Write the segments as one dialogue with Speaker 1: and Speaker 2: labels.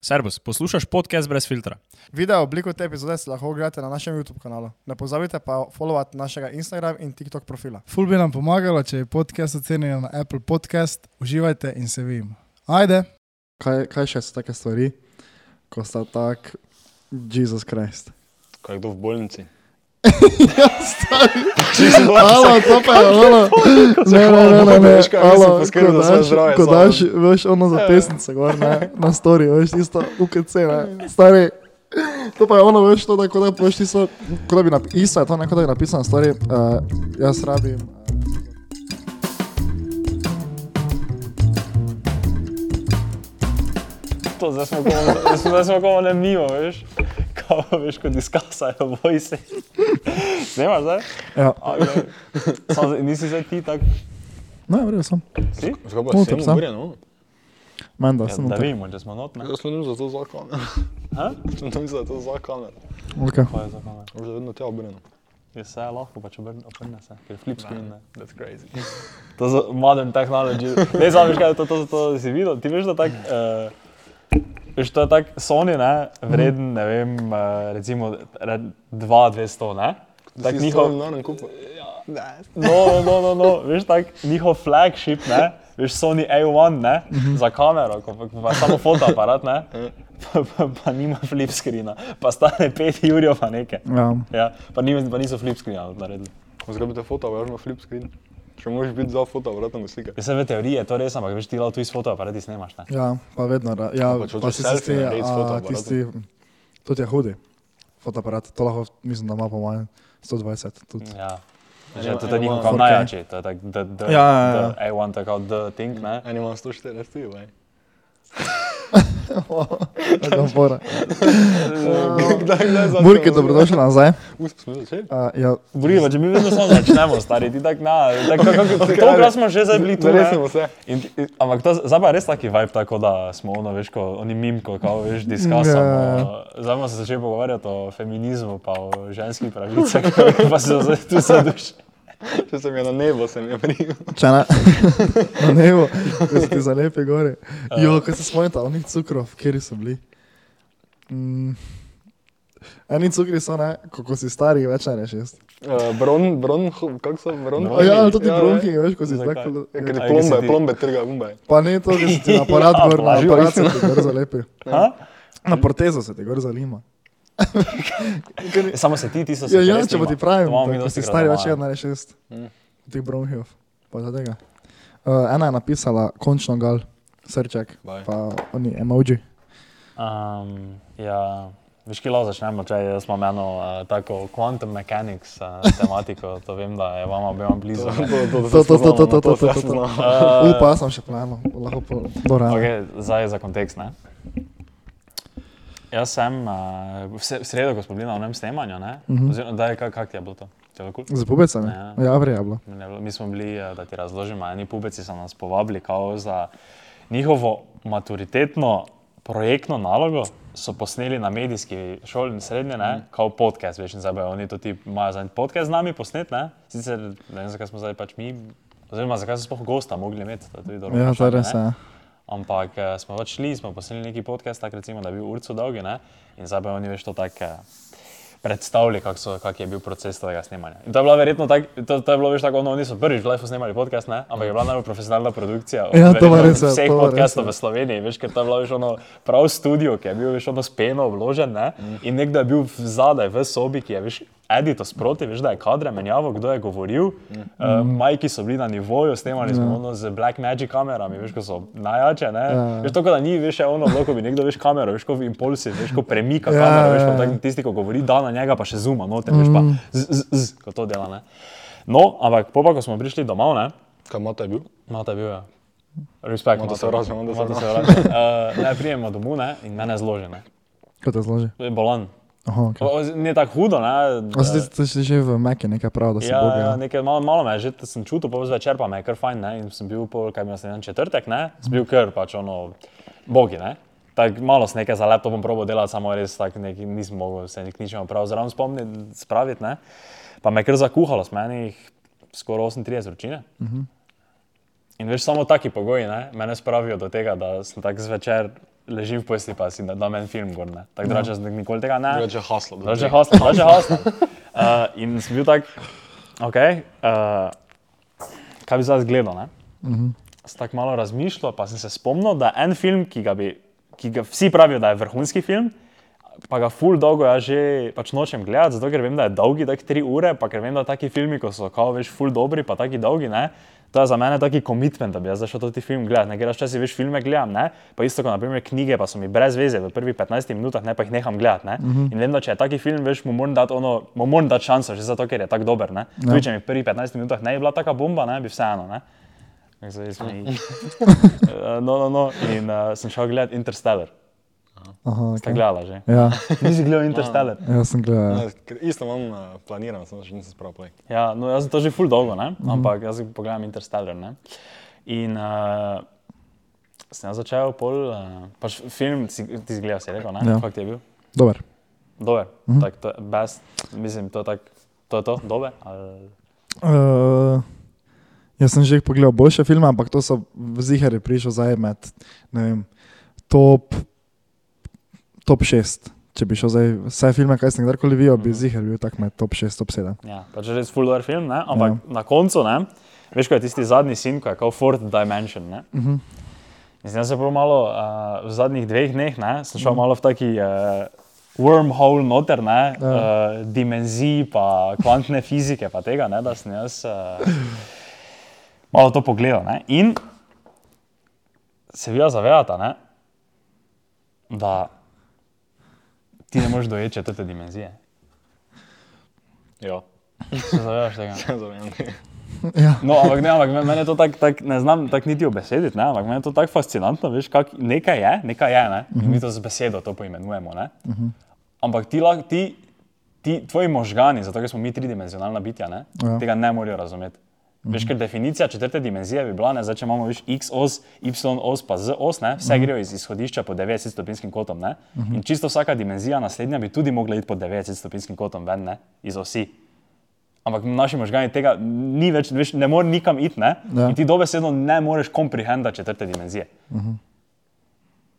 Speaker 1: Servus, poslušaš podcast brez filtra.
Speaker 2: Video obliko te epizode si lahko ogledate na našem YouTube kanalu. Ne pozabite pa followati našega Instagram in TikTok profila.
Speaker 3: Ful bi nam pomagalo, če bi podcast ocenili na Apple Podcast. Uživajte in se vidimo. Ajde!
Speaker 2: Kaj, kaj še so take stvari, ko sta tak, Jezus Krist.
Speaker 4: Kaj kdo v bolnici?
Speaker 2: Ja, stari,
Speaker 4: Čisto
Speaker 2: malo, to pa je malo. Ne, ne, ne, ne, ne.
Speaker 4: Veš kaj, mislim,
Speaker 2: Alo,
Speaker 4: poskrbi
Speaker 2: ko
Speaker 4: za svoje
Speaker 2: daš-
Speaker 4: zdravje
Speaker 2: Ko
Speaker 4: samo. Ja.
Speaker 2: daš, veš, ono za pesnice, gor, ne, na story, veš, tisto UKC,
Speaker 4: Ja.
Speaker 2: ne, stari. To pa je ono, veš, to, da, ko da, veš, tisto, ko da bi napisal, isto je to, ne, ko da bi napisal na story, uh, jaz rabim. eh,
Speaker 4: To zdaj smo komu- zdaj smo- zdaj smo komu ne mimo, veš. Kao, veš, kot diskasa, jo boj se. Snemaš zdaj?
Speaker 2: Ja,
Speaker 4: A, glej. Samo zdaj- Nisi zdaj ti tak.
Speaker 2: no, je v redu, sem.
Speaker 4: Si?
Speaker 5: Zgodba
Speaker 2: Noter,
Speaker 5: je samo
Speaker 2: sam.
Speaker 4: no?
Speaker 5: umorjeno.
Speaker 2: Menda,
Speaker 4: Ja,
Speaker 2: sem.
Speaker 4: da
Speaker 2: noter.
Speaker 4: vidimo, če smo notni.
Speaker 5: Jaz sem za to za kamer.
Speaker 4: Ha?
Speaker 5: Sem tam za to za kamer.
Speaker 2: Okay.
Speaker 4: Kaj je za kamer?
Speaker 5: Že vedno tja obrnjeno.
Speaker 4: Je vse lahko, pač obrne, obrne se, ker flip screen ne. That's crazy. To je modern technology. Ne, samo veš kaj, to, to, to, to si videl, ti veš, da tak, uh, veš, to je tak Sony, ne, vreden, ne vem, uh, recimo 2-200, ne? Tak njihov,
Speaker 5: Na enem kupu.
Speaker 4: no, no, no, no, veš, tak njihov flagship, ne, veš, Sony A1, ne, za kamero, ko pa, pa samo fotoaparat, ne, pa, pa, pa nima flip screena, pa stane 5 jurjev pa nekaj.
Speaker 2: Ja.
Speaker 4: Ja, pa, nima, pa niso flip screena naredili.
Speaker 5: Zgrabite foto, važno flip screen. Če moraš biti za foto, vratno ga slika.
Speaker 4: Vse v teoriji je to res, ampak veš, ti lahko tu iz fotoaparata snemaš. Ne?
Speaker 2: Ja, pa vedno. ra- Ja,
Speaker 5: Pač
Speaker 2: pa,
Speaker 5: hočeš
Speaker 2: pa si
Speaker 5: selfie
Speaker 2: tisti,
Speaker 5: narediti s
Speaker 2: a,
Speaker 5: fotoaparatom.
Speaker 2: tisti, to ti je hudi. Fotoaparat, to lahko, mislim, da ima po mojem 120. Tudi.
Speaker 4: Ja. Že to
Speaker 5: Eno-
Speaker 4: je
Speaker 5: eno
Speaker 4: njihov
Speaker 5: malo
Speaker 4: kao
Speaker 2: forkaj.
Speaker 4: najjači, to je tak, da, da,
Speaker 2: Ja, ja, ja.
Speaker 4: da, A1 to je kao the thing, ne?
Speaker 5: En ima 140, ti, vaj.
Speaker 2: Tako fora.
Speaker 4: Ja.
Speaker 5: Kdaj, kdaj za
Speaker 2: Burki, dobrodošli nazaj.
Speaker 5: Usp smo začeli.
Speaker 2: Uh, ja,
Speaker 4: Buriva, če mi vedno samo začnemo, stari, ti tak na, tako kako, No, tokrat smo že zdaj bili tu,
Speaker 5: Res smo
Speaker 4: ne?
Speaker 5: vse.
Speaker 4: In, in, ampak to, zdaj pa je res taki vibe, tako da smo ono, veš, ko, oni mimko, kao, veš,
Speaker 2: Ja.
Speaker 4: diskasamo. Zdaj smo se začeli pogovarjati o feminizmu, pa o ženskih pravicah, pa se zdaj tu seduš.
Speaker 5: Če sem je na nebo, sem je prijel.
Speaker 2: če ne, na nebo, ko si ti zalepi gore. Jo, kaj se spomnite, onih cukrov, kjer so bili. Mm. Eni cukri so, ne, kako si stari, več ne šest.
Speaker 5: Eh, Bron, bron, ho- kako so bron?
Speaker 4: Bronhi.
Speaker 2: Ja, ali tudi
Speaker 5: ja,
Speaker 2: bronhi, veš, ko si
Speaker 4: Zakaj?
Speaker 2: tako.
Speaker 5: Ja, ker je
Speaker 4: Ja, kaj si ti?
Speaker 5: plombe, plombe trga, gumbe.
Speaker 2: Pa ne to, da si ti na aparat gor, na
Speaker 4: plaži,
Speaker 2: aparat se ti gor zalepi.
Speaker 4: Ha?
Speaker 2: Na protezo se ti gor zalima.
Speaker 4: Samo se ti, ti so se
Speaker 2: Ja,
Speaker 4: pa
Speaker 2: ja,
Speaker 4: res
Speaker 2: če pa
Speaker 4: nima.
Speaker 2: ti pravim,
Speaker 4: To imamo mi
Speaker 2: da si
Speaker 4: dostikrat
Speaker 2: stari
Speaker 4: doma,
Speaker 2: več
Speaker 4: ja.
Speaker 2: od 1,6. Tih bronhijov, pa za tega. Uh, ena je napisala, končno gal, srček,
Speaker 5: Baj.
Speaker 2: pa oni emoji.
Speaker 4: Um, ja, veš, kje lahko začnemo, če jaz imam eno uh, tako quantum mechanics uh, tematiko, to vem, da je vam obema blizu.
Speaker 2: To, to, to, to, to, to, to, to, to.
Speaker 5: no.
Speaker 4: Uh,
Speaker 2: Upa, jaz sem še plano, lahko pa dorajam.
Speaker 4: okay, zdaj za kontekst. Ne? Jaz sem uh, v se- v sredo, ko smo bili na onem snemanju, ne?
Speaker 2: Mhm.
Speaker 4: oziroma da je kak, kak ti je bilo to? Ti je bilo kul?
Speaker 2: Z pubecami?
Speaker 4: Ja.
Speaker 2: Ja, vrej je bilo.
Speaker 4: Mi ne bilo- Mi smo bili, eh, da ti razložim, eni pubeci so nas povabili kao za njihovo maturitetno projektno nalogo, so posneli na medijski šoli in srednje,
Speaker 2: Mhm.
Speaker 4: ne, kao podcast, veš, in zdaj bojo oni to ti imajo za podcast z nami posnet, ne, sicer ne vem, zakaj smo zdaj pač mi, oziroma zakaj smo sploh gosta mogli imeti, to je tudi dobro.
Speaker 2: Ja, to
Speaker 4: vprašanje,
Speaker 2: je res
Speaker 4: ne.
Speaker 2: je.
Speaker 4: Ampak eh, smo pač šli, smo posneli neki podcast, tak recimo, da je bil urco dolg, ne? in zdaj pa oni veš to tako. Predstavljali, kak, so- kak je bil proces tega snemanja. In to je bilo verjetno tako, to, to je bilo veš tako, ono, oni so prvič v Life snemali podcast, ne? ampak je bila najbolj profesionalna produkcija. od
Speaker 2: Ja, to pa
Speaker 4: verjetno
Speaker 2: res je,
Speaker 4: Vseh
Speaker 2: to pa res
Speaker 4: podcastov
Speaker 2: je.
Speaker 4: v Sloveniji, veš, ker to je bilo veš ono prav studio, ki je bil veš ono speno obložen ne? in nekdo je bil v- zadaj v sobi, ki je veš edito sproti, veš, da je kadre menjavo, kdo je govoril. Uh, majki so bili na nivoju, snemali
Speaker 2: Ja.
Speaker 4: smo ono z Black Magic kamerami, veš, ko so najjače. Ne? Veš, to, ko da ni veš, je ono bilo, ko bi nekdo veš kamero, veš, ko v impulsi, veš, ko premika
Speaker 2: Ja,
Speaker 4: kamero, veš,
Speaker 2: ja, Mm.
Speaker 4: ko
Speaker 2: ja.
Speaker 4: tak, tisti, ko govori, da na njega pa še zuma, no, te veš pa, z, z, z, ko to dela. Ne? No, ampak popa, ko smo prišli domov, ne,
Speaker 5: Kaj mata je bil?
Speaker 4: Mata je bil, ja. Respekt,
Speaker 5: Mata se
Speaker 4: Mata.
Speaker 5: vrača, Mata se
Speaker 4: Mata se vrača. Uh, ne, prijemo domov ne, in mene zloži. Ne.
Speaker 2: Kaj te zloži?
Speaker 4: Bolan.
Speaker 2: Aha, ok.
Speaker 4: O, o, Ne tako hudo, ne.
Speaker 2: A si ti- ti si že v Meki nekaj prav, da si
Speaker 4: eh. Ja, ja,
Speaker 2: bobil?
Speaker 4: nekaj malo, malo me je že, sem čutil, pa zvečer pa me je kar fajn, ne, in sem bil pol, kaj mi je naslednji dan, četrtek, ne, sem bil kar pač ono, bogi, ne. Tako malo sem nekaj za laptopom probo delati, samo res tako neki, nisem mogel se nik ničemu prav zraven spomniti, spraviti, ne. Pa me je kar zakuhalo, sem enih skoraj 38 vročine. In veš, samo taki pogoji, ne, mene spravijo do tega, da sem tak zvečer leži v pojsti pa si, da da meni film gor. ne. Tako drugače jaz nikoli tega ne.
Speaker 5: Drugače je haslo. bilo.
Speaker 4: Drugače hostel, drugače hostel. Uh, in sem bil tak, ok, uh, kaj bi zdaj gledal, ne? Sem tako malo razmišljal, pa sem se spomnil, da en film, ki ga, bi, ki ga vsi pravijo, da je vrhunski film, pa ga full dolgo jaz že pač nočem gledati, zato ker vem, da je dolgi, tako tri ure, pa ker vem, da taki filmi, ko so kao veš full dobri, pa taki dolgi, ne, to je za mene taki commitment, da bi jaz zašel to ti film gledati, ne, ker jaz včasih veš filme gledam, ne, pa isto kot naprimer knjige, pa so mi brez veze v prvih 15 minutah, ne, pa jih neham gledati, ne, in vem, da če je taki film, veš, mu moram dati ono, mu moram dati šanso, že zato, ker je tako dober, ne, tudi če mi v prvih 15 minutah ne bi bila taka bomba, ne, bi vseeno, ne. Tako Zdaj smo jih. No, no, no. In uh, sem šel gledati Interstellar.
Speaker 2: Aha,
Speaker 4: Ste
Speaker 2: okay.
Speaker 4: gledali že?
Speaker 2: Ja,
Speaker 4: Nisi gledal Interstellar.
Speaker 2: jaz sem gledal.
Speaker 5: Ja, ker Isto imam eh, planirano, samo še nisem spravil play.
Speaker 4: Ja, no, jaz sem to že ful dolgo, ne? ampak jaz pogledam Interstellar. Ne? In uh, sem jaz začel pol, uh, pač film, si, ti si gledal, si rekel, ne?
Speaker 2: Ja.
Speaker 4: Kak ti je bil?
Speaker 2: Dober.
Speaker 4: Dober, mm -hmm. tak, to je best, mislim, to je tak, to je to, dober. Ali...
Speaker 2: Uh, jaz sem že pogledal boljše filme, ampak to so v zihari prišel zdaj med ne vem, top, top 6. Če bi šel zdaj vse filme, kaj sem kdorkoli videl, bi zihar bil tak med top 6, top 7.
Speaker 4: Ja, pač res ful dober film, ne? ampak ja. na koncu, ne? veš, ko je tisti zadnji sin, ko je kot Fourth Dimension. Ne? Uh -huh. Zdaj se prav malo uh, v zadnjih dveh dneh, ne? sem šel uh -huh. malo v taki uh, wormhole noter, ne? uh, dimenziji, pa kvantne fizike, pa tega, ne? da sem jaz uh, malo to pogledal. Ne? In se vi zavedate, ne? da ti ne moreš doječi te dimenzije.
Speaker 5: Ja,
Speaker 4: Se zavedaš tega?
Speaker 5: zavedam.
Speaker 4: No, ampak ne, ampak me- mene to tako tak, ne znam tak niti obesediti, ne, ampak mene to tako fascinantno, veš, kak, nekaj je, nekaj je, ne? in mi to z besedo to poimenujemo. Ne? Ampak ti, lahko- ti, ti, tvoji možgani, zato ker smo mi tridimenzionalna bitja, ne?
Speaker 2: Ja. Mhm.
Speaker 4: tega ne morejo razumeti. Veš, ker definicija četrte dimenzije bi bila, ne, zdaj, če imamo več x os, y os, pa z os, ne,
Speaker 2: Mhm.
Speaker 4: vse grejo iz izhodišča po 90-stopinskim kotom. Ne, in čisto vsaka dimenzija naslednja bi tudi mogla iti po 90-stopinskim kotom ven, ne, iz osi. Ampak naši možgani tega ni več, veš, ne more nikam iti. Ne?
Speaker 2: Ja. Mhm.
Speaker 4: In ti dobesedno ne moreš komprehenda četrte dimenzije. Uh -huh.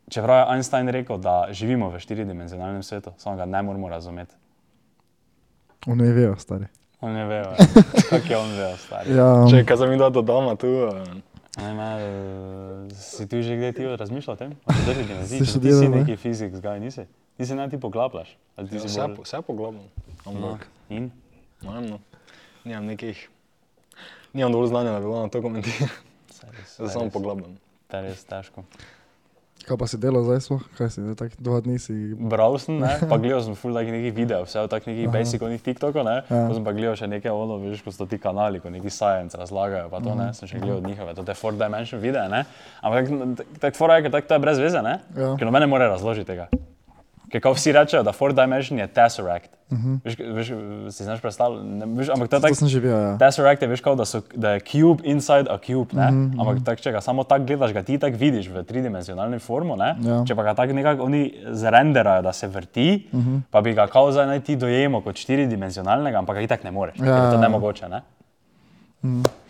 Speaker 4: Čeprav je Einstein rekel, da živimo v štiridimenzionalnem svetu, samo ga ne moremo razumeti.
Speaker 2: Oni ne vejo, stari.
Speaker 4: On ne ve, kako je on ve, stari. Ja.
Speaker 2: Ja,
Speaker 5: Če kaj za mi da dodama tu, eh,
Speaker 4: Ne, me, eh, si ti že kdaj ti razmišljal o tem? O četrti dimenziji?
Speaker 2: Si
Speaker 4: Ti
Speaker 2: študiral,
Speaker 4: si
Speaker 2: ne?
Speaker 4: neki fizik, zgaj nisi. Ti se ne ti poglabljaš. Ali ti si
Speaker 5: Ja, vse,
Speaker 4: bolj-
Speaker 5: po- vse poglobno. Ampak,
Speaker 4: In?
Speaker 5: no, ne vem, no. nimam nekih, nimam dovolj znanja, da bi bilo na to komentirati.
Speaker 4: Saj res,
Speaker 5: Zdaj
Speaker 4: saj
Speaker 5: samo
Speaker 4: res.
Speaker 5: poglobno.
Speaker 4: To je res težko.
Speaker 2: kaj pa si delal zdaj, sploh? kaj si zdaj, tako dva dni si.
Speaker 4: Bral sem, ne, pa gledal sem ful takih nekih videov, vse v takih nekih basicovnih TikTokov, ne, ja. potem pa gledal še nekaj ono, veš, ko so ti kanali, ko neki science razlagajo, pa to ne, sem še gledal od njihove, to te four dimension videe, ne, ampak tako tak, fora je, ker tako to je brez veze, ne,
Speaker 2: Ja.
Speaker 4: ja. ker noben ne more razložiti tega. Ker kao vsi rečejo, da four dimension je tesseract. Uh -huh. veš, veš, si znaš predstavljati, veš, ampak to
Speaker 2: To
Speaker 4: je tako.
Speaker 2: sem že videl, ja. Mhm,
Speaker 4: Tesseract je veš, kao, da, so, da je kub inside a kub, ne? Mm -hmm. ampak tak, če ga samo tako gledaš, ga ti tako vidiš v tridimenzionalni formu,
Speaker 2: Ja.
Speaker 4: ja. če pa ga tako nekako oni zrenderajo, da se vrti, mm
Speaker 2: Mhm.
Speaker 4: -hmm. pa bi ga kao zdaj naj ti dojemo kot štiridimenzionalnega, ampak ga itak ne moreš, ja. ker je
Speaker 2: ja,
Speaker 4: to
Speaker 2: ja. Mhm.
Speaker 4: nemogoče. Ne?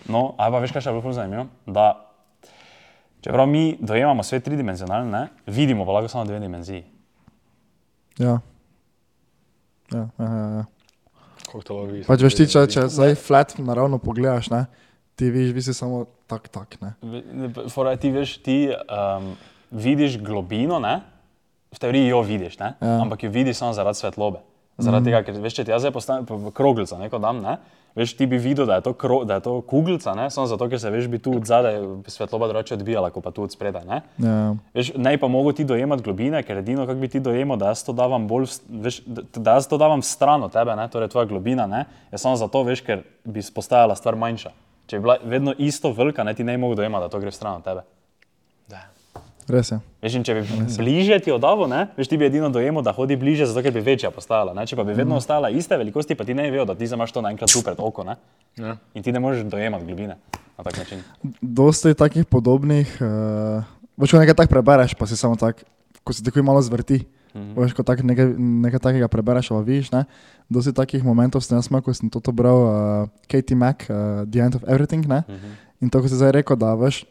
Speaker 4: No, ali pa veš, kaj še je bilo bolj zanimivo, da čeprav mi dojemamo svet tridimenzionalen, ne, vidimo pa lahko samo dve dimenziji.
Speaker 2: Ja. Ja, ja, ja, ja.
Speaker 5: Kako to lahko vidiš?
Speaker 2: Pač veš ti, če, če zdaj flat naravno pogledaš, ne, ti vidiš, vi si samo tak, tak, ne.
Speaker 4: Fora, ti veš, ti um, vidiš globino, ne? v teoriji jo vidiš, ne? ja. ampak jo vidiš samo zaradi svetlobe. Zaradi mm. tega, ker veš, če ti jaz zdaj postavim po- v kroglico, neko dam, ne? veš, ti bi videl, da je to, kro, da je to kuglica, ne? samo zato, ker se veš, bi tu od zadaj svetloba drugače odbijala, kot pa tu od spredaj. ne.
Speaker 2: Ja,
Speaker 4: Veš, naj pa mogo ti dojemati globine, ker edino, kako bi ti dojemal, da jaz to davam bolj, v s- veš, da, da jaz to davam stran od tebe, ne, torej tvoja globina, ne, je samo zato, veš, ker bi postajala stvar manjša. Če bi bila vedno isto velika, ne ti ne bi mogel dojemati, da to gre stran od tebe.
Speaker 2: res je.
Speaker 4: Veš, in če bi bliže ti odavo, ne, veš, ti bi edino dojemal, da hodi bliže, zato ker bi večja postajala. Ne? Če pa bi
Speaker 2: Mhm.
Speaker 4: vedno ostala iste velikosti, pa ti ne bi vedel, da ti zdaj imaš to naenkrat tu pred oko. Ne?
Speaker 5: Ja.
Speaker 4: In ti ne moreš dojemati globine na tak način.
Speaker 2: Dosti je takih podobnih, uh, veš, ko nekaj tak prebereš, pa si samo tak, ko se tako malo zvrti. Mm -hmm. Veš, ko tak nekaj, nekaj takega prebereš, pa vidiš, ne. Dosti takih momentov sem jaz imel, ko sem to bral, uh, Katie Mack, uh, The End of Everything, ne. Mm -hmm. In to, ko si zdaj rekel, da veš,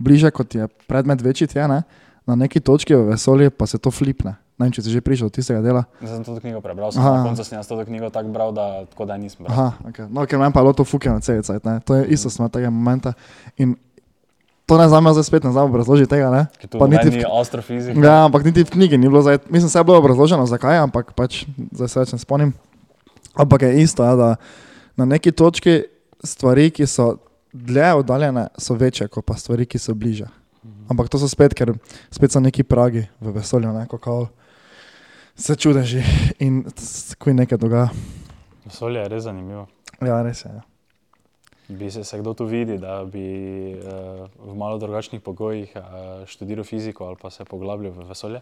Speaker 2: bliže kot je predmet večji, tja, ne. na neki točki v vesolju pa se to flipne. Ne vem, če si že prišel od tistega dela.
Speaker 4: Zdaj sem to knjigo prebral, sem
Speaker 2: Aha.
Speaker 4: na koncu sem jaz to knjigo tako bral, da tako da nisem bral.
Speaker 2: Aha, okay. no, ker meni pa je bilo to fukeno cel cajt, ne. To je isto smo tega momenta. In to ne znam, jaz zdaj spet ne znam obrazložiti tega, ne.
Speaker 4: Ker tu
Speaker 2: Pa niti
Speaker 4: noben
Speaker 2: v-
Speaker 4: ni astrofizik.
Speaker 2: Ja, ampak niti v knjigi ni bilo, zdaj, mislim, se je bilo obrazloženo, zakaj, ampak pač zdaj se več ne spomnim. Ampak je isto, ja, da na neki točki stvari, ki so dlje oddaljene, so večje, kot pa stvari, ki so bliže. Ampak to so spet, ker spet so neki pragi v vesolju, neko kao. Se čudeži in s- kuj nekaj dogaja.
Speaker 4: Vesolje je res zanimivo.
Speaker 2: Ja, res je. Ja.
Speaker 4: Bi se, se kdo tu vidi, da bi uh, v malo drugačnih pogojih uh, študiral fiziko ali pa se poglabljal v vesolje?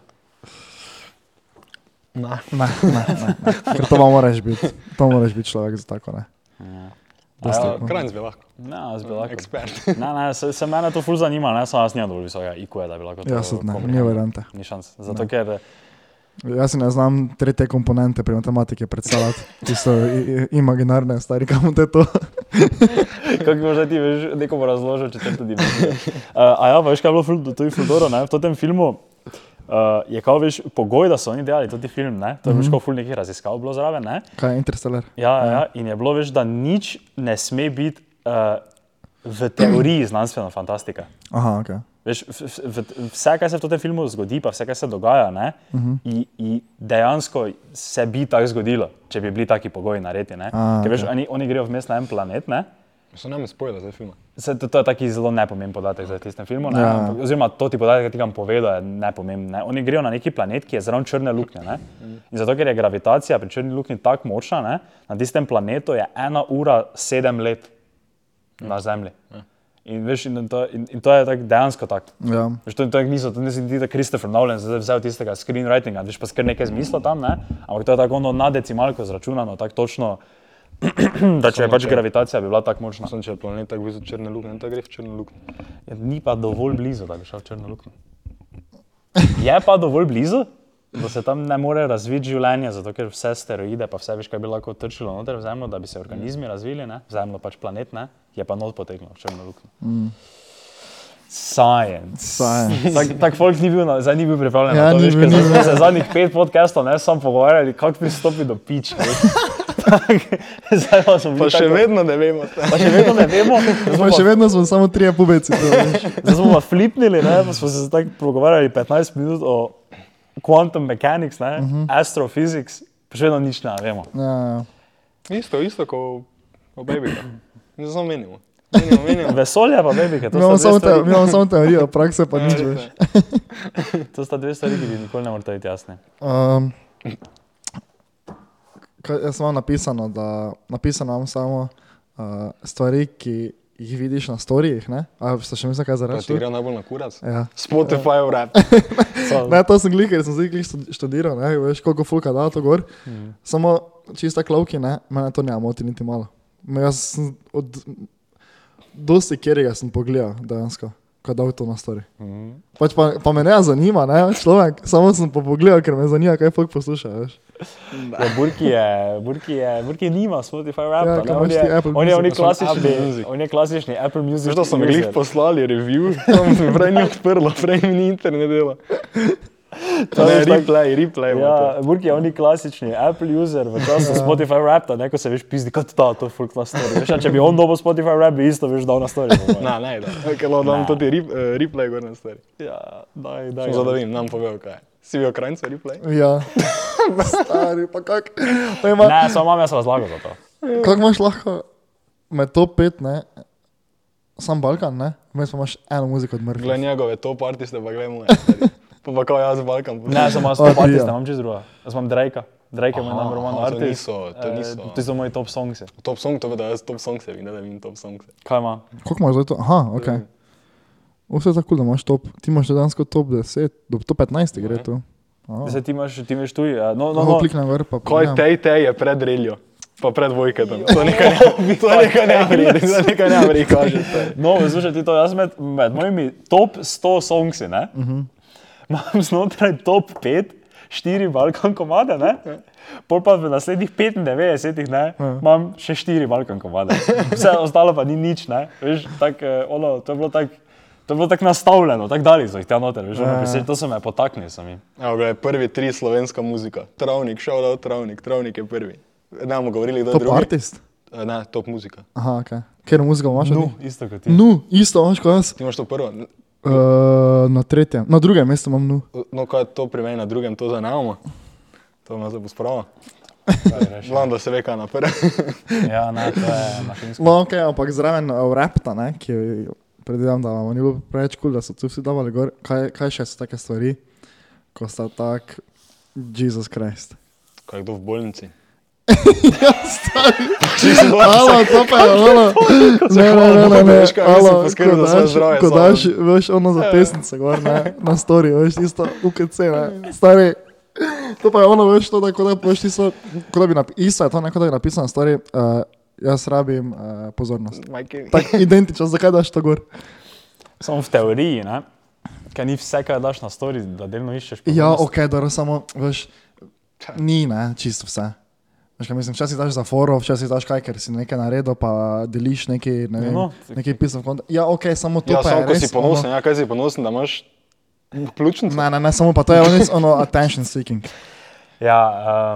Speaker 5: Ne.
Speaker 2: Ne, ne, ne, ne. Ker to pa moraš biti, to moraš biti človek za tako. Ne.
Speaker 4: A ja,
Speaker 5: Kranj bi lahko.
Speaker 4: Ne, jaz bi lahko.
Speaker 5: Ekspert.
Speaker 4: Ne, ne, se, se mene to ful zanima, ne, samo jaz nisem dovolj visokega IQ-ja, da bi lahko to
Speaker 2: Jaz sem ne, ni
Speaker 4: komprehend-
Speaker 2: variante.
Speaker 4: Ni šans. Zato, ker
Speaker 2: Jaz si ne znam tretje komponente pri matematiki predstavljati, ki so i- i- imaginarne, stari kam te to.
Speaker 4: Kako boš zdaj ti veš, nekomu razložil, če te tudi ne veš. Uh, a ja, pa veš, kaj je bilo ful, to je Fudoro, ne, v tem filmu. Uh, je kao, veš, pogoj, da so oni delali tudi film, ne?
Speaker 2: Mhm.
Speaker 4: to je mm -hmm. bilo ful nekih raziskav, bilo zraven. Ne?
Speaker 2: Kaj je interstellar?
Speaker 4: Ja, ja, ja, in je bilo, veš, da nič ne sme biti uh, v teoriji znanstvena fantastika.
Speaker 2: Aha, ok.
Speaker 4: Veš, v, v, v, vse, kar se v tem filmu zgodi, pa vse, kar se dogaja, ne, uh
Speaker 2: Mhm.
Speaker 4: -huh. i, i dejansko se bi tako zgodilo, če bi bili taki pogoji narejeni.
Speaker 2: A,
Speaker 4: Ker veš,
Speaker 2: okej.
Speaker 4: oni, oni grejo vmes na en planet. Ne,
Speaker 5: Se nam spojila za film.
Speaker 4: Se, to, to je taki zelo nepomemben podatek za tistem filmu. Ne,
Speaker 2: Ja.
Speaker 4: ja. Oziroma, to ti podatek, ki ti ga bom povedal, je nepomemben. Ne. Oni grejo na neki planet, ki je zraven črne luknje. Ne. In zato, ker je gravitacija pri črni luknji tako močna, ne, na tistem planetu je ena ura sedem let na Zemlji. In, veš, in, to, in, in to je tak, dejansko tako.
Speaker 2: Ja.
Speaker 4: Veš, to, to niso, to nisem ti, da Kristofer Nolan zdaj vzel tistega screenwritinga, veš pa skr nekaj zmisla tam, ne? ampak to je tako ono na decimalko zračunano, tako točno, da če je pač gravitacija bi bila tako močna.
Speaker 5: Sem če je planet tako blizu črne luknje, ne tako gre v črno luknje.
Speaker 4: Ja, Ni pa dovolj blizu, da bi šel v črno luknjo. Je pa dovolj blizu, da se tam ne more razviti življenje, zato ker vse steroide, pa vse veš, kaj bi lahko trčilo noter v zemljo, da bi se organizmi razvili, ne? v zemljo pač planet, ne? je pa not potegnil v črno luknjo. Mm. Science.
Speaker 2: Science.
Speaker 4: Tako tak folk ni bil, na, zdaj ni bil pripravljen
Speaker 2: Ja,
Speaker 4: na to,
Speaker 2: ni
Speaker 4: veš,
Speaker 2: bil,
Speaker 4: ker
Speaker 2: ni
Speaker 4: zdaj smo se zadnjih pet podcastov ne samo pogovarjali, kako pristopi do pič. Zdaj pa smo bili
Speaker 5: Pa še
Speaker 4: tako-
Speaker 5: vedno ne vemo.
Speaker 4: pa še vedno ne vemo, zdaj smo
Speaker 2: Pa
Speaker 4: pa
Speaker 2: še vedno smo samo trije pubeci. to veš.
Speaker 4: Zdaj smo pa flipnili, ne, pa smo se tako pogovarjali 15 minut o quantum mechanics, ne, uh
Speaker 2: Mhm.
Speaker 4: -huh. astrophysics, pa še vedno nič ne vemo.
Speaker 2: Ja, ja.
Speaker 5: Isto, isto kot o baby. Ne samo menimo. Menimo, menimo.
Speaker 4: Vesolje pa bebike,
Speaker 2: Mi
Speaker 4: to,
Speaker 2: imamo
Speaker 4: sta
Speaker 2: No, samo
Speaker 4: dve
Speaker 2: te- mi
Speaker 4: stvari-
Speaker 2: imamo samo teorijo, prakse pa nič več.
Speaker 4: to sta dve stvari, ki ti nikoli ne morete biti jasne.
Speaker 2: Um, kaj, jaz imam napisano, da napisano imam samo uh, stvari, ki jih vidiš na storijih. ne? Ali ste še mislili, kaj za
Speaker 5: Pa ti
Speaker 2: reči?
Speaker 5: gre najbolj na kurac.
Speaker 2: Ja.
Speaker 5: Spotify v rap.
Speaker 4: So,
Speaker 2: Ne, to sem glik, ker sem zdaj glik študiral, ne, veš, koliko fulka da to gor. Mm. Samo čista klovki, ne, mene to ne moti niti malo. Me jaz sem od dosti kjerega sem pogledal dejansko, ko da to na stvari. Mm. Pač pa, pa me ne zanima, ne, človek, samo sem pa pogledal, ker me zanima, kaj folk posluša, veš.
Speaker 4: ja, Burki, je, Burki, je, Burki nima Spotify rapa,
Speaker 2: Ja,
Speaker 4: ja,
Speaker 2: kaj
Speaker 4: on,
Speaker 2: imaš ti
Speaker 4: je,
Speaker 2: Apple
Speaker 4: on, je, on, je
Speaker 2: Music?
Speaker 4: klasični,
Speaker 5: Apple Music.
Speaker 4: on je klasični Apple Music.
Speaker 5: Veš, da so mi glih
Speaker 4: user.
Speaker 5: poslali review, tam mi prej ni odprlo, prej mi ni internet dela. To
Speaker 4: To je
Speaker 5: je
Speaker 4: tako-
Speaker 5: replay, replay. ima
Speaker 4: Ja, Burki je oni klasični Apple user, v času
Speaker 2: Ja.
Speaker 4: Spotify rapta, ne ko se veš pizdi, kot ta, to je fulk na story. Veš, a če bi on dobil Spotify rap, bi isto veš dal na story. po
Speaker 5: to.
Speaker 4: moje.
Speaker 5: Na, ne, da. Kaj lahko dam
Speaker 4: Ne.
Speaker 5: tudi rip, eh, replay gor na stvari.
Speaker 4: Ja, daj, daj.
Speaker 5: Zato da vem, nam povejo kaj. je. Si bil krajnce replay?
Speaker 2: Ja. Stari, pa kak. Ne, ma,
Speaker 4: Ne, samo imam jaz razlago za to.
Speaker 2: Kako imaš lahko med top 5, ne, sam Balkan, ne, vmes pa imaš eno muziko od
Speaker 5: Glej
Speaker 2: mrtvih.
Speaker 5: njegove top artiste, pa glej moje. Pa pa kao jaz Balkan.
Speaker 4: Ne, samo jaz
Speaker 2: Odbija.
Speaker 4: top artist, ne imam čez druga. Jaz imam Drakea. Drake je moj
Speaker 5: Aha,
Speaker 4: number one
Speaker 5: aha, to
Speaker 4: artist.
Speaker 5: niso- to
Speaker 4: Eh,
Speaker 5: niso.
Speaker 4: To so moji top songs.
Speaker 5: Top song, to vedo, jaz top song se vidim, ne da vidim top song.
Speaker 4: Kaj ima?
Speaker 2: Koliko imaš zdaj to? Aha, ok. Vse tako, da imaš top, ti imaš dejansko top 10, do top 15 gre to.
Speaker 4: Zdaj ti imaš, ti imaš tuj. eh, No, no,
Speaker 2: Lahko
Speaker 4: no.
Speaker 2: kliknem gor, pa
Speaker 5: Kaj
Speaker 2: pogledam.
Speaker 5: tej tej je pred reljo, pa pred vojketom. To nekaj ne, to nekaj ne vredi, to nekaj ne vredi, kaže.
Speaker 4: No, poslušaj ti to, jaz med, med mojimi top 100 songsi, ne? Uh
Speaker 2: Mhm.
Speaker 4: -huh. Imam znotraj top 5, 4 Balkan komade, ne? Pol pa v naslednjih 95, ne?
Speaker 2: Ja.
Speaker 4: Imam še 4 Balkan komade. Vse ostalo pa ni nič, ne? Veš, tak, eh, ono, to je bilo tako To je bilo tako nastavljeno, tako dali so jih tam noter, veš,
Speaker 2: Ja,
Speaker 4: ono, besed- to so me potaknili sami.
Speaker 5: Evo, gledaj, prvi tri slovenska muzika. Travnik, shout out Travnik, Travnik je prvi. Ne bomo govorili, kdo je
Speaker 2: Top
Speaker 5: drugi.
Speaker 2: artist?
Speaker 5: Eh, Ne, top muzika.
Speaker 2: Aha, ok. Ker muzika imaš?
Speaker 4: No, isto kot ti.
Speaker 2: Nu, isto imaš kot jaz.
Speaker 5: Ti imaš to prvo.
Speaker 2: Uh, na tretjem, na drugem mestu imam nu.
Speaker 5: No, kaj je to pri meni na drugem, to zanimamo. To ima zdaj posprava. Glavno, da se ve, kaj je na prvem.
Speaker 4: Ja, ne, to je mašinsko.
Speaker 2: No, ok, ampak zraven uh, rapta, ne, ki jo predvidevam, da vam ni bilo preveč kul, cool, da so tu vsi davali gor. Kaj, kaj še so take stvari, ko sta tak, Jezus Krist.
Speaker 5: Kaj je kdo v bolnici?
Speaker 2: ja, stari.
Speaker 5: Čisto
Speaker 2: Alo, to pa je, alo. Ne, ne, ne, ne, ne.
Speaker 5: Veš kaj, mislim,
Speaker 2: Alo,
Speaker 5: poskrbi
Speaker 2: ko
Speaker 5: za svoje
Speaker 2: daš-
Speaker 5: zdravje Ja.
Speaker 2: Ko
Speaker 5: samo.
Speaker 2: daš, veš, ono za pesnice, gor, ne, na story, veš, isto UKC, ne, stari. To pa je ono, veš, to da, ko da pošti so, ko da bi napisal, isto je to neko, da bi napisal na story, uh, jaz rabim uh, pozornost.
Speaker 5: Ja,
Speaker 2: Tako identično, zakaj daš to gor?
Speaker 4: Samo v teoriji, ne? Kaj ni vse, kar daš na story, da delno iščeš.
Speaker 2: Ja,
Speaker 4: pozornost.
Speaker 2: ok, dobro, samo, veš, ni, ne, čisto vse. Veš, kaj mislim, včasih daš za foro, včasih daš kaj, ker si nekaj naredil, pa deliš neki, ne vem, no,
Speaker 4: No,
Speaker 2: neki pisem konta. Ja, ok, samo to
Speaker 5: Ja,
Speaker 2: pa je
Speaker 5: samo ko
Speaker 2: res,
Speaker 5: si ponosen, ja, kaj si ponosen, da imaš ključnico.
Speaker 2: Ono, ne, ne, ne, samo pa to je res ono attention seeking.
Speaker 4: Ja,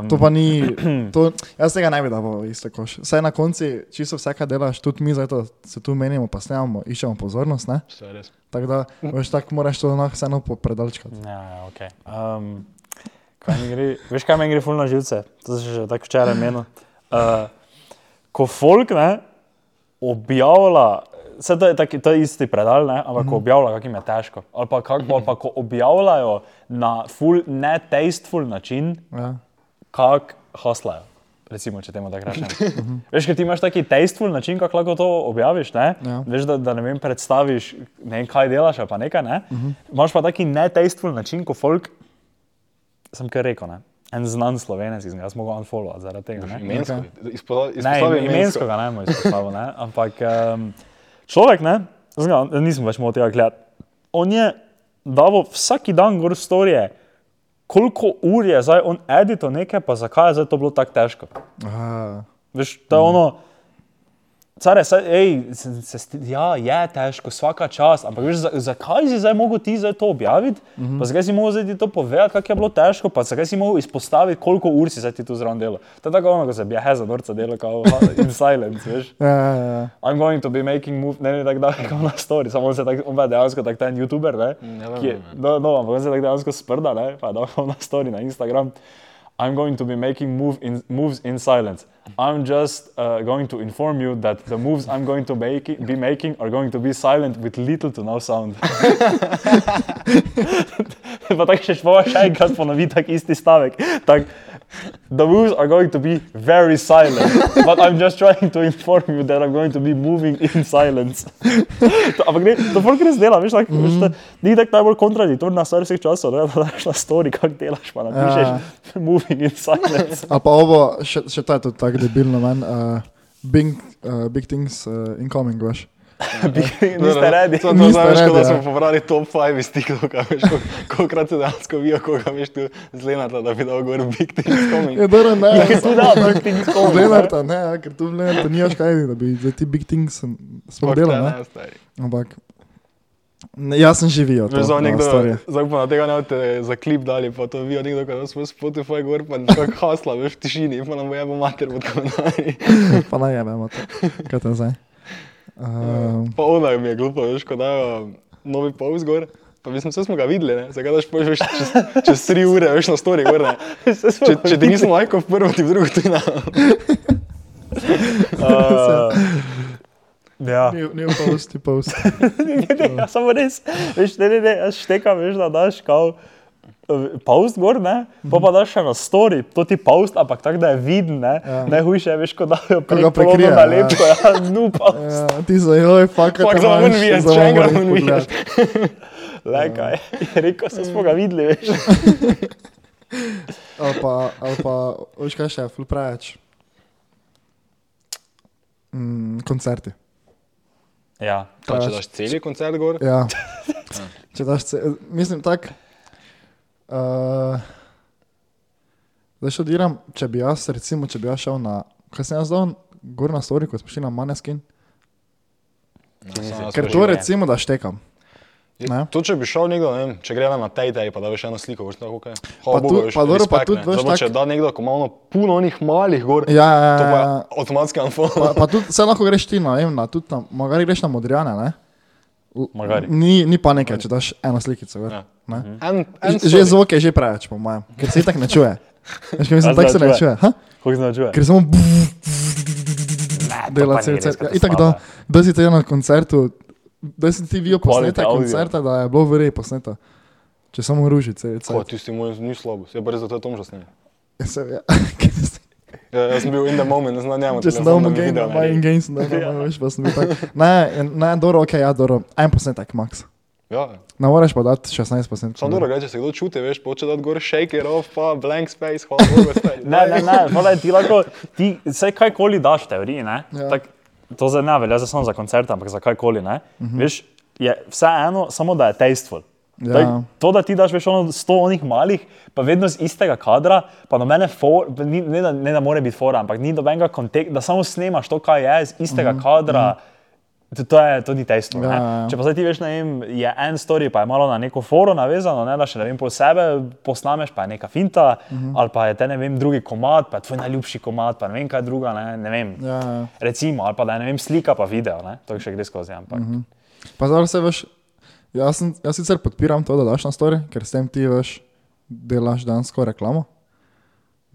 Speaker 4: um,
Speaker 2: To pa ni, to, jaz tega ne bi dal v isto koš. Vse na konci, čisto vse, kar delaš, tudi mi, zato se tu menimo, pa snemamo, iščemo pozornost, ne?
Speaker 5: To je res.
Speaker 2: Tako da, veš, tako moraš to ono vseeno popredalčkati.
Speaker 4: Ja, ok. Um, kaj mi gre, veš, kaj meni gre fulno živce? To si že tako včeraj menil. Uh, ko folk ne, objavlja, vse to je, tak, to je isti predal, ne, ampak mm -hmm.
Speaker 2: Mhm.
Speaker 4: ko objavlja, kako jim je težko. Ali pa, kak, ali pa ko objavljajo na full ne-tasteful način,
Speaker 2: Ja.
Speaker 4: kak haslajo. Recimo, če temu tako rečem. Veš, ker ti imaš taki tasteful način, kako lahko to objaviš. Ne?
Speaker 2: Ja.
Speaker 4: Veš, da, da ne vem, predstaviš, ne vem, kaj delaš, ali pa nekaj. Ne?
Speaker 2: Mhm.
Speaker 4: Imaš pa taki netasteful način, ko folk, sem kar rekel, ne? en znan slovenec, ki sem ga jaz mogel unfollowati zaradi tega. Ne?
Speaker 5: Imensko. Izpostavi
Speaker 4: Ne,
Speaker 5: izpostavi
Speaker 4: imensko
Speaker 5: imensko.
Speaker 4: ga ne bomo izpostavili, ne? ampak um, človek, ne, jaz ga nisem več mogel tega gledati. On je dal vsak dan gor storije, koliko ur je zdaj on edito nekaj, pa zakaj je zdaj to bilo tako težko.
Speaker 5: Mhm.
Speaker 2: Aha.
Speaker 4: Veš, to je ono, care, saj, ej, se, se, sti- ja, je težko, vsaka čas, ampak veš, za, zakaj si zdaj mogel ti zdaj to objaviti, mm -hmm. pa zakaj si mogel zdaj ti to povedati, kako je bilo težko, pa zakaj si mogel izpostaviti, koliko ur si zdaj ti tu zraven delo. To je tako ono, ko se bi heza norca delo, kao ha, in silence, veš.
Speaker 2: Ja, ja, ja, ja.
Speaker 4: I'm going to be making move, ne, ne, tako da, kao na story, samo on se tako, on pa je dejansko tak ten youtuber, ne,
Speaker 5: Ne vem,
Speaker 4: ki je, no, no, ampak on se tako dejansko sprda, ne, pa je dal kao na story na Instagram. I'm going to be making move in, moves in silence. I'm just uh, going to inform you that the moves I'm going to make, be making are going to be silent with little to no sound. pa tako še šlo, še enkrat ponovi tak isti stavek. Tak, the moves are going to be very silent, but I'm just trying to inform you that I'm going to be moving in silence. to, ampak ne, to folk res dela, veš, tak, mm. veš to, ni tako najbolj kontradiktorna stvar vseh časov, ne, da daš na story, kako delaš, pa napišeš moving in silence.
Speaker 2: A pa ovo, še, še ta je tudi tako debilno manj, uh, big, uh, big things uh, incoming, veš.
Speaker 4: Niste redi.
Speaker 5: To je to,
Speaker 2: Niste
Speaker 5: znaš, kot da
Speaker 2: ready,
Speaker 5: smo
Speaker 2: ja.
Speaker 5: pobrali top 5 iz TikToka, veš, kol- kolikrat se dejansko vijo, koga veš tu zlenata, da bi dal gor Big Thing Coming.
Speaker 2: Je
Speaker 4: Ja,
Speaker 2: Ja, dobro, ne,
Speaker 4: Ker tu da, big things come.
Speaker 2: Leonarda, ne, ja, ker tu Leonarda nimaš kaj, da bi zdaj ti big things sploh delal,
Speaker 5: ja,
Speaker 2: ne. Ampak, ne, jaz sem no, živel.
Speaker 5: Veš, za nekdo, zdaj pa na tega ne boste za klip dali, pa to vijo nekdo, ko smo Spotify gor, pa nekako hasla, veš, v tišini, pa nam bo jebo mater pod kanali.
Speaker 2: Pa naj jememo to. Kaj te zdaj? Um,
Speaker 5: Pa ona jim je glupa, veš, ko dajo um, novi povz gor. Pa mislim, vse smo ga videli, ne? zakaj daš pojš čez, čez tri ure, veš na story, gor, ne? Če, če ti nisem lajkal v prvo, ti v drugo tudi na.
Speaker 4: Uh, ja.
Speaker 2: Ni v posti, post.
Speaker 4: ne, ne, ja, samo res, veš, ne, ne, ne, jaz štekam, veš, da daš kao eh, post gor, ne, pa pa daš še na story, to ti post, ampak tako da je viden, ne, ja. najhujše je, veš, ko dajo
Speaker 2: ga
Speaker 4: preko
Speaker 2: prekrije,
Speaker 4: na
Speaker 2: ja.
Speaker 4: lepo, ja, nu post,
Speaker 2: Ja, ti za joj, fakat.
Speaker 5: Fak, za manj viješ, če enkrat manj viješ.
Speaker 4: le kaj, je rekel, se smo ga videli, veš.
Speaker 2: Ali pa, ali pa, veš kaj še, ful preveč. Mm, koncerti.
Speaker 4: Ja,
Speaker 5: Kaj, če daš celi koncert gor?
Speaker 2: Ja. Če daš se, mislim tak. eh, Uh, zdaj študiram, če bi jaz, recimo, če bi jaz šel na, kaj sem jaz dal, gor na story, ko smo šli na Maneskin.
Speaker 5: Samo jaz
Speaker 2: Ker
Speaker 5: veš.
Speaker 2: to recimo, da štekam. Ne?
Speaker 5: Tu, če bi šel nekdo, ne vem, če gre na tej tej, pa da veš eno sliko, boš tako kaj.
Speaker 2: Pa tu- pa dobro, pa tudi veš,
Speaker 5: Zato, če
Speaker 2: tak-
Speaker 5: da nekdo, ko ima ono puno onih malih gor,
Speaker 2: Ja, ja, ja,
Speaker 5: to pa je
Speaker 2: ja.
Speaker 5: avtomatski
Speaker 2: Pa,
Speaker 5: unfollow.
Speaker 2: pa tudi, se lahko greš ti na Emna, tudi tam, magari greš na Modrijane, ne? V-
Speaker 4: Magari.
Speaker 2: Ni, ni panike, če daš eno slikico. Gor,
Speaker 5: Ja.
Speaker 2: ne?
Speaker 5: En, en
Speaker 2: Že že zvok je že preveč, po mojem, ker se itak ne čuje. Veš, kaj mislim,
Speaker 4: A
Speaker 2: tako se
Speaker 4: zdaj
Speaker 2: ne
Speaker 4: čuje?
Speaker 2: čuje. Ha?
Speaker 4: Kako značuje?
Speaker 2: Ker samo dela cel cel. Itak da, da si te na koncertu, da si ti bil posnetek
Speaker 4: Quality audio.
Speaker 2: koncerta, da je bilo v reji posneto. Če samo ruži cel cel.
Speaker 5: Ko, tisti moj ni slabo, je brez zato je Tom že snimal.
Speaker 2: Ja, se- ja. Ker si-
Speaker 5: Ja, jaz sem bil in the moment, ne znam Ja. njemu.
Speaker 2: Če sem dal mu no game, da ima in game, sem dal, da veš, pa sem bil tak. Ne, ne, dobro, ok, ja, dobro. En posnetek, max.
Speaker 5: Ja,
Speaker 2: Ne moreš pa dati 16 posnetkov.
Speaker 5: samo dobro, reče, če se kdo čuti, veš, poče dati gor shake it off, pa blank space, hvala Bogu, spet.
Speaker 4: Ne, ne, ne, moraj ti lahko, ti vse kajkoli daš teoriji, ne?
Speaker 2: Ja.
Speaker 4: Ja. Tak, to zdaj ne velja zdaj samo za koncert, ampak za kajkoli, ne? Mhm. Veš, je vseeno, samo da je tasteful.
Speaker 2: Ja.
Speaker 4: Tak, to, da ti daš veš ono sto onih malih, pa vedno z istega kadra, pa nobene for, pa ni, ne, da, ne da more biti fora, ampak ni dobenega konteksta, da samo snemaš to, kaj je, z istega kadra. To, to, je, to ni testno.
Speaker 2: Ja, ja,
Speaker 4: Mhm. Ja,
Speaker 2: ja.
Speaker 4: Če pa zdaj ti veš, ne vem, je en story, pa je malo na neko foro navezano, ne, da še ne vem, po sebe posnameš, pa je neka finta, uh
Speaker 2: Mhm.
Speaker 4: -huh. ali pa je te ne vem, drugi komad, pa je tvoj najljubši komad, pa ne vem kaj druga, ne, ne vem.
Speaker 2: Ja, ja.
Speaker 4: Recimo, ali pa da je ne vem, slika pa video, ne, to še gre skozi, ampak
Speaker 2: Mhm.
Speaker 4: uh -huh.
Speaker 2: Pa zdaj se veš, jaz, sem, jaz sicer podpiram to, da daš na story, ker s tem ti veš, delaš dansko reklamo.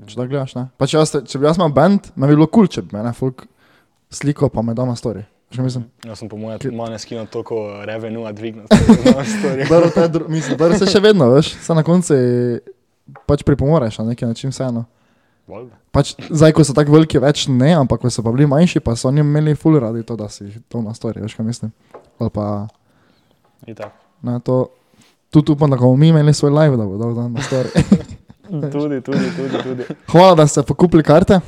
Speaker 2: Če da gledaš, ne. Pa če, jaz, te- če bi jaz imel band, me bi bilo kul, cool, če bi mene folk sliko pa me da na story. Še mislim,
Speaker 5: Jaz Ja, sem po mojem tudi manj skinil toliko revenue, dvignil.
Speaker 2: da te, dru- mislim, da se še vedno, veš, se na koncu pač pripomoreš na neki način vseeno. Pač, zdaj, ko so tako veliki, več ne, ampak ko so pa bili manjši, pa so oni imeli ful radi to, da si to na story, veš kaj mislim. Ali pa
Speaker 4: je tako.
Speaker 2: Ne, to, tudi upam, da bomo mi imeli svoj live, da bo dal dan na stvari.
Speaker 4: Tudi, tudi, tudi. tudi.
Speaker 2: Hvala, da ste pokupili karte.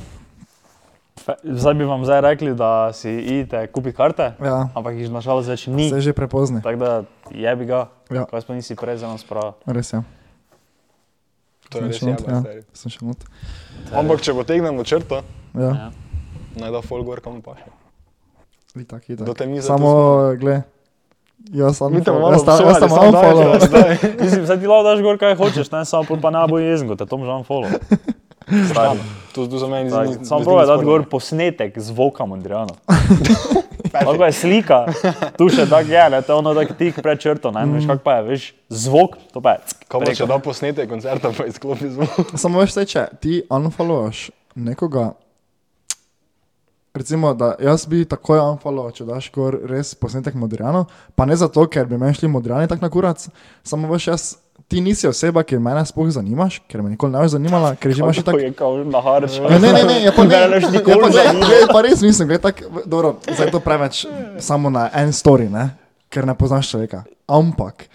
Speaker 4: Fe- Zdaj bi vam zdaj rekli, da si idete kupiti karte,
Speaker 2: Ja,
Speaker 4: ampak jih nažalost več
Speaker 5: Mm.
Speaker 2: se je
Speaker 4: ni.
Speaker 2: že prepozni.
Speaker 4: Tako da je bi ga,
Speaker 2: Ja.
Speaker 4: ja. kaj pa nisi prej za nas prav.
Speaker 2: Res je.
Speaker 5: To je res
Speaker 2: Sem še not,
Speaker 5: jeba,
Speaker 2: ja.
Speaker 5: stari.
Speaker 2: Sem še not.
Speaker 5: Ampak če potegnemo črto,
Speaker 2: Ja,
Speaker 5: naj da folgor kam paše.
Speaker 2: itak, itak.
Speaker 5: Do te mize tu
Speaker 2: Samo, gled. Jaz sem
Speaker 5: Mi te
Speaker 2: unfollow-
Speaker 5: malo
Speaker 2: jaz sem- jaz sem
Speaker 5: obsojali, samo daj,
Speaker 2: unfollow.
Speaker 5: da zdaj.
Speaker 4: Mislim, zdaj ti lahko daš gor, kaj hočeš, ne samo pol pa ne bo jezen, kot te Tom Jean Follow. Stari,
Speaker 5: To tu za meni
Speaker 4: stari.
Speaker 5: zdi.
Speaker 4: Samo probaj dati gor posnetek zvoka Mondriana. Lahko je slika, tu še tako je, ne, to je ono tako tik pred črto, ne,
Speaker 2: Mm.
Speaker 4: veš kak pa je, veš, zvok, to pa je. ck,
Speaker 5: Kaj pa če
Speaker 4: preko.
Speaker 5: da posnete koncerta, pa izklopi zvok.
Speaker 2: Samo veš, saj, če ti unfollowaš nekoga, recimo, da jaz bi takoj unfollow, če daš gor res posnetek modrijano, pa ne zato, ker bi meni šli modrijani tak na kurac, samo veš, jaz, ti nisi oseba, ki mene sploh zanimaš, ker me nikoli ne boš zanimala, ker že imaš
Speaker 4: To
Speaker 2: tako...
Speaker 4: je kao na harš.
Speaker 2: Ja, ne, ne, ne, je pa ne,
Speaker 4: Mene ne boš
Speaker 2: je
Speaker 4: nikoli
Speaker 2: pa, gled,
Speaker 4: zanimala.
Speaker 2: gled, pa res mislim, gled, tak, dobro, zdaj je to preveč samo na en story, ne? ker ne poznaš človeka. Ampak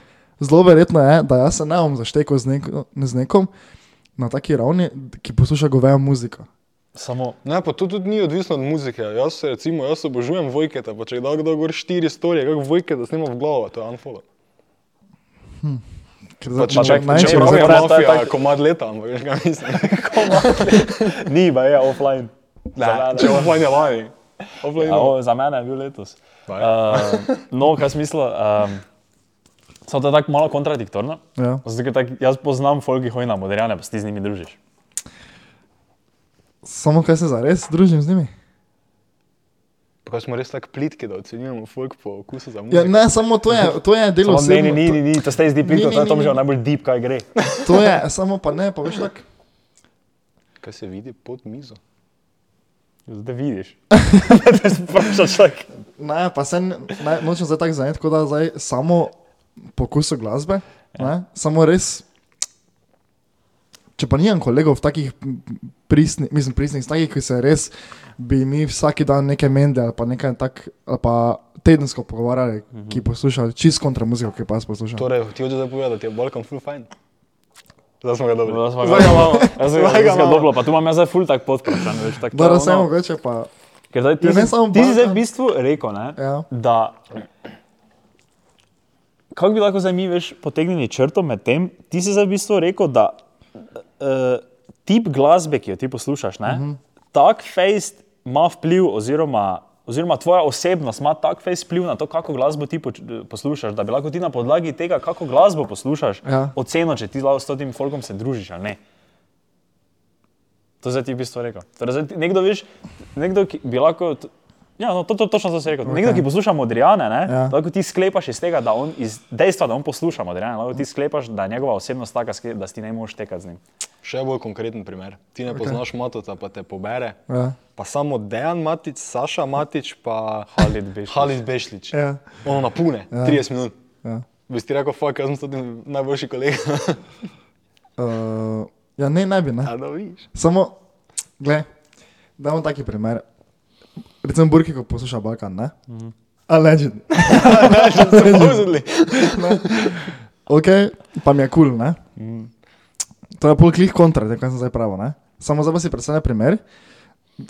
Speaker 2: zelo verjetno je, da jaz se ne bom zaštekal z, neko, z nekom na taki ravni, ki posluša govejo muziko.
Speaker 4: Samo,
Speaker 5: Ne, pa to tudi ni odvisno od muzike. Jaz se recimo, jaz obožujem Vojketa, pa če je dal kdo gor štiri storije, kako Vojketa snima v glavo, to je unfollow.
Speaker 2: Ker
Speaker 5: Pa
Speaker 2: zdaj-
Speaker 5: če čak,
Speaker 2: najče-
Speaker 5: čeprav je
Speaker 4: zato je
Speaker 5: mafija
Speaker 4: tak-
Speaker 5: komad leta, ampak veš kaj mislim.
Speaker 4: ni, ba je offline. Za
Speaker 5: Ne,
Speaker 4: mene.
Speaker 5: če je offline je lani. Offline je
Speaker 4: Ja,
Speaker 5: lani.
Speaker 4: o, za mene je bil letos.
Speaker 5: Pa je.
Speaker 4: Uh,
Speaker 2: ja.
Speaker 4: no, kaj smisel? Um, Samo to je tako malo kontradiktorno.
Speaker 2: Ja.
Speaker 4: Zato, ker tak, jaz poznam folk, ki hoji na moderjane, pa se ti z njimi družiš.
Speaker 2: Samo kaj se zares družim z njimi.
Speaker 5: Pa Kaj smo res tako plitki, da ocenjujemo folk po okusu za muziko.
Speaker 2: Ja, ne, samo to je, to je delo
Speaker 4: Samo Ne,
Speaker 2: osebno.
Speaker 4: ne, ne,
Speaker 2: No, to-
Speaker 4: ne, ne, to ste
Speaker 2: Ni,
Speaker 4: zdaj prišli,
Speaker 2: ni,
Speaker 4: to je
Speaker 2: ni,
Speaker 4: tam že
Speaker 2: ni.
Speaker 4: najbolj deep, kaj gre.
Speaker 2: To je, samo pa ne, pa veš tako.
Speaker 5: Kaj se vidi pod mizo?
Speaker 4: Zdaj vidiš. Vprašaš tak.
Speaker 2: Ne, pa se ne, ne- nočem zdaj tako zanimati, kot da zdaj samo pokusu glasbe. Ja. Ne, samo res. Če pa nimam kolegov takih pristnih, mislim, pristnih, takih, ki se res bi mi vsak dan nekaj mende ali pa nekaj tak, ali pa tedensko pogovarjali, mhm. ki poslušajo čist kontra muziko, ki pa jaz poslušam.
Speaker 5: Torej, ti hočeš zdaj povedati, da je Balkan full fajn. Zdaj smo ga dobili.
Speaker 4: Zdaj
Speaker 5: Zdaj ga imamo. Zdaj ga
Speaker 4: ga
Speaker 5: imamo.
Speaker 4: dobro, pa tu imam jaz zdaj ful tak podprašan, veš, tak. to je
Speaker 2: Da, samo
Speaker 4: ono-
Speaker 2: mogoče pa.
Speaker 4: Ker zdaj ti,
Speaker 2: Ja, ne
Speaker 4: si-
Speaker 2: samo
Speaker 4: ti si zdaj
Speaker 2: Balkan.
Speaker 4: v bistvu rekel, ne,
Speaker 2: Ja.
Speaker 4: da. Kako bi lahko zdaj mi več potegnili črto med tem? Ti si zdaj v bistvu rekel, da uh,
Speaker 2: Mhm.
Speaker 4: tip glasbe, ki jo ti poslušaš, ne, uh -huh. tak fejst ima vpliv oziroma Oziroma, tvoja osebnost ima tak fejs vpliv na to, kako glasbo ti poč- poslušaš, da bi lahko ti na podlagi tega, kako glasbo poslušaš,
Speaker 2: Ja.
Speaker 4: oceno, če ti lahko s tem folkom se družiš ali ne. To zdaj ti v bistvu rekel. Torej, zdaj, ti- nekdo, veš, nekdo, ki bi lahko. t- Ja, no, to, to, točno to si rekel. Nekdo, ki posluša Modrijane, ne,
Speaker 2: Ja.
Speaker 4: lahko ti sklepaš iz tega, da on, iz dejstva, da on posluša Modrijane, lahko ti sklepaš, da je njegova osebnost taka, ske- da si ti ne moreš tekati z njim.
Speaker 5: Še bolj konkreten primer. Ti ne okay. poznaš Matota, pa te pobere.
Speaker 2: Ja.
Speaker 5: Pa samo Dejan Matic, Saša Matic, pa
Speaker 4: Halid Bešlić.
Speaker 5: Halid Bešlič.
Speaker 2: Ja.
Speaker 5: Ono napune, ja. 30 minut.
Speaker 2: Ja.
Speaker 5: Bi ti rekel, fuck, jaz sem tudi najboljši kolega.
Speaker 2: Uh, ja, ne, ne bi. Ne.
Speaker 5: A no, da viš.
Speaker 2: Samo, gled, damo taki primer. Recimo Burki, ko posluša Balkan, ne? Mhm. Alleged. Ja.
Speaker 5: Pozudli.
Speaker 2: ok, pa mi je kul, cool, ne?
Speaker 4: Mhm.
Speaker 2: To je pol klih kontra, tako kot sem zdaj pravil, ne? Samo zdaj pa si predstavljaj primer.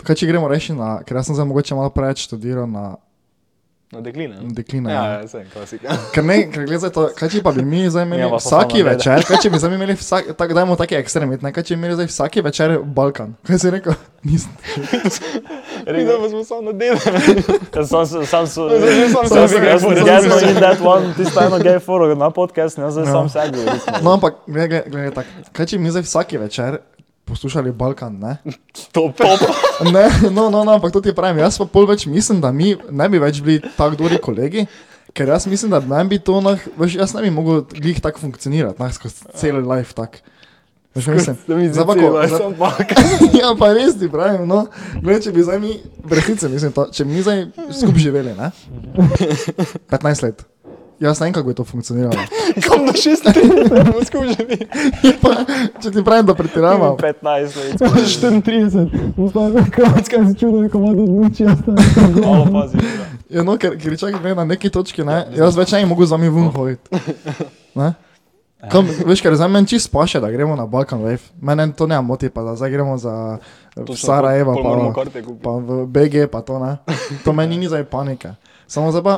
Speaker 2: Kaj če gremo reči na, ker jaz sem zdaj mogoče malo preveč študiral na
Speaker 5: Na No, dekline. ne?
Speaker 2: dekline.
Speaker 5: Ja,
Speaker 2: ne.
Speaker 5: ja, sem klasika.
Speaker 2: Ker ne, ker gled, zdaj to, kaj če pa bi mi zdaj imeli
Speaker 4: Ja, pa so
Speaker 2: vsaki
Speaker 4: samo dede.
Speaker 2: večer, kaj če bi zdaj imeli vsak, tak, dajmo taki ekstremit, ne, kaj če bi imeli zdaj vsaki večer Balkan. Kaj si rekel? Nisem.
Speaker 5: Videl pa smo samo na delu.
Speaker 4: Sam sem, sam sem,
Speaker 5: sam
Speaker 4: sam
Speaker 5: sebi
Speaker 4: sem,
Speaker 5: gej
Speaker 4: jaz sem,
Speaker 5: foro,
Speaker 4: jaz
Speaker 5: sam
Speaker 4: sem
Speaker 5: sebi.
Speaker 4: in that one, tisto eno gej foro na podcast, jaz sem sam sebi.
Speaker 2: No, ampak, glede, glede, tak, kaj če bi mi zdaj vsaki večer poslušali Balkan, ne?
Speaker 5: Top. Top.
Speaker 2: Ne, no, no, no, ampak to ti pravim, jaz pa pol več mislim, da mi ne bi več bili tako dobri kolegi, ker jaz mislim, da ne bi to, nah, veš, jaz ne bi mogel glih tako funkcionirati, nah, skozi cel life tak. Veš, kaj mislim, Zdaj pa, ko- zdaj-
Speaker 5: sem pa.
Speaker 2: ja, pa res ti pravim, no. Gled, če bi zdaj mi, brhice, mislim, to, če bi mi zdaj skupaj živeli, ne? 15 let. Jaz ne vem, kako je to funkcioniralo.
Speaker 5: Kam do 6 let? Bomo skupaj živeli.
Speaker 2: Pa, če ti pravim, da pretiravamo.
Speaker 4: 15 let,
Speaker 6: 34, ustavi Hrvatska se čuduje, ko malo odluči, ostane.
Speaker 4: malo pazi.
Speaker 2: Ja, no, ker, ker čakaj, gre na neki točki,
Speaker 5: Ja,
Speaker 2: ne? Jaz več ne bi mogel z vami ven hoditi. Ne?
Speaker 5: Ja.
Speaker 2: Kam, veš, ker za meni čisto paše, da gremo na Balkan Wave. Mene to ne moti, pa da zdaj gremo za
Speaker 5: Točno,
Speaker 2: Sarajevo,
Speaker 5: pol moramo
Speaker 2: pa,
Speaker 5: karte kupiti.
Speaker 2: pa v BG, pa to ne. To meni ni zdaj panika. Samo zdaj pa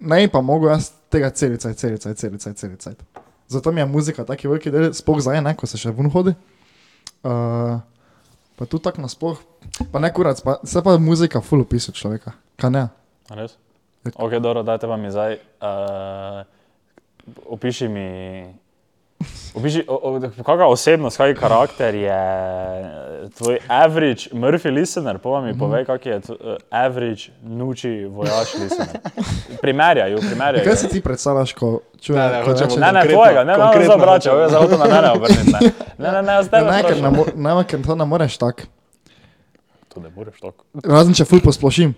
Speaker 2: ne bi pa mogel jaz tega celica, celica, celica, celica. Zato mi je muzika taki veliki del, spoh zdaj, ne, ko se še ven hodi. Uh, pa tu tako nasploh, pa ne kurac, pa, se pa muzika full opisuje človeka. Kaj ne?
Speaker 4: Res? Ok, dobro, dajte vam je zdaj. Uh, opiši mi. Opiši, o, o, kakšna osebnost, kakšen karakter je eh, tvoj average Murphy listener? Povej mi, povej, kak je tv, eh, average nuči vojaš listener. Primerjaj, ju, primerjaj. ju.
Speaker 2: Kaj si ti predstavljaš, ko čuješ?
Speaker 5: Ne, ne,
Speaker 2: ko
Speaker 5: hočemo-
Speaker 2: rečeš-
Speaker 4: Ne, ne,
Speaker 5: Konkretno,
Speaker 4: tvojega, ne, ne, ne,
Speaker 5: konkretno
Speaker 4: zavračaj,
Speaker 5: hočem.
Speaker 4: jaz zato na mene obrnite. Ne, ne, ne, jaz tebe.
Speaker 2: Ne, ne, ker, ne,
Speaker 4: vprašam.
Speaker 2: mo- ne, ne, ker to ne moreš tako.
Speaker 4: To ne moreš tako.
Speaker 2: Razen če ful posplošim.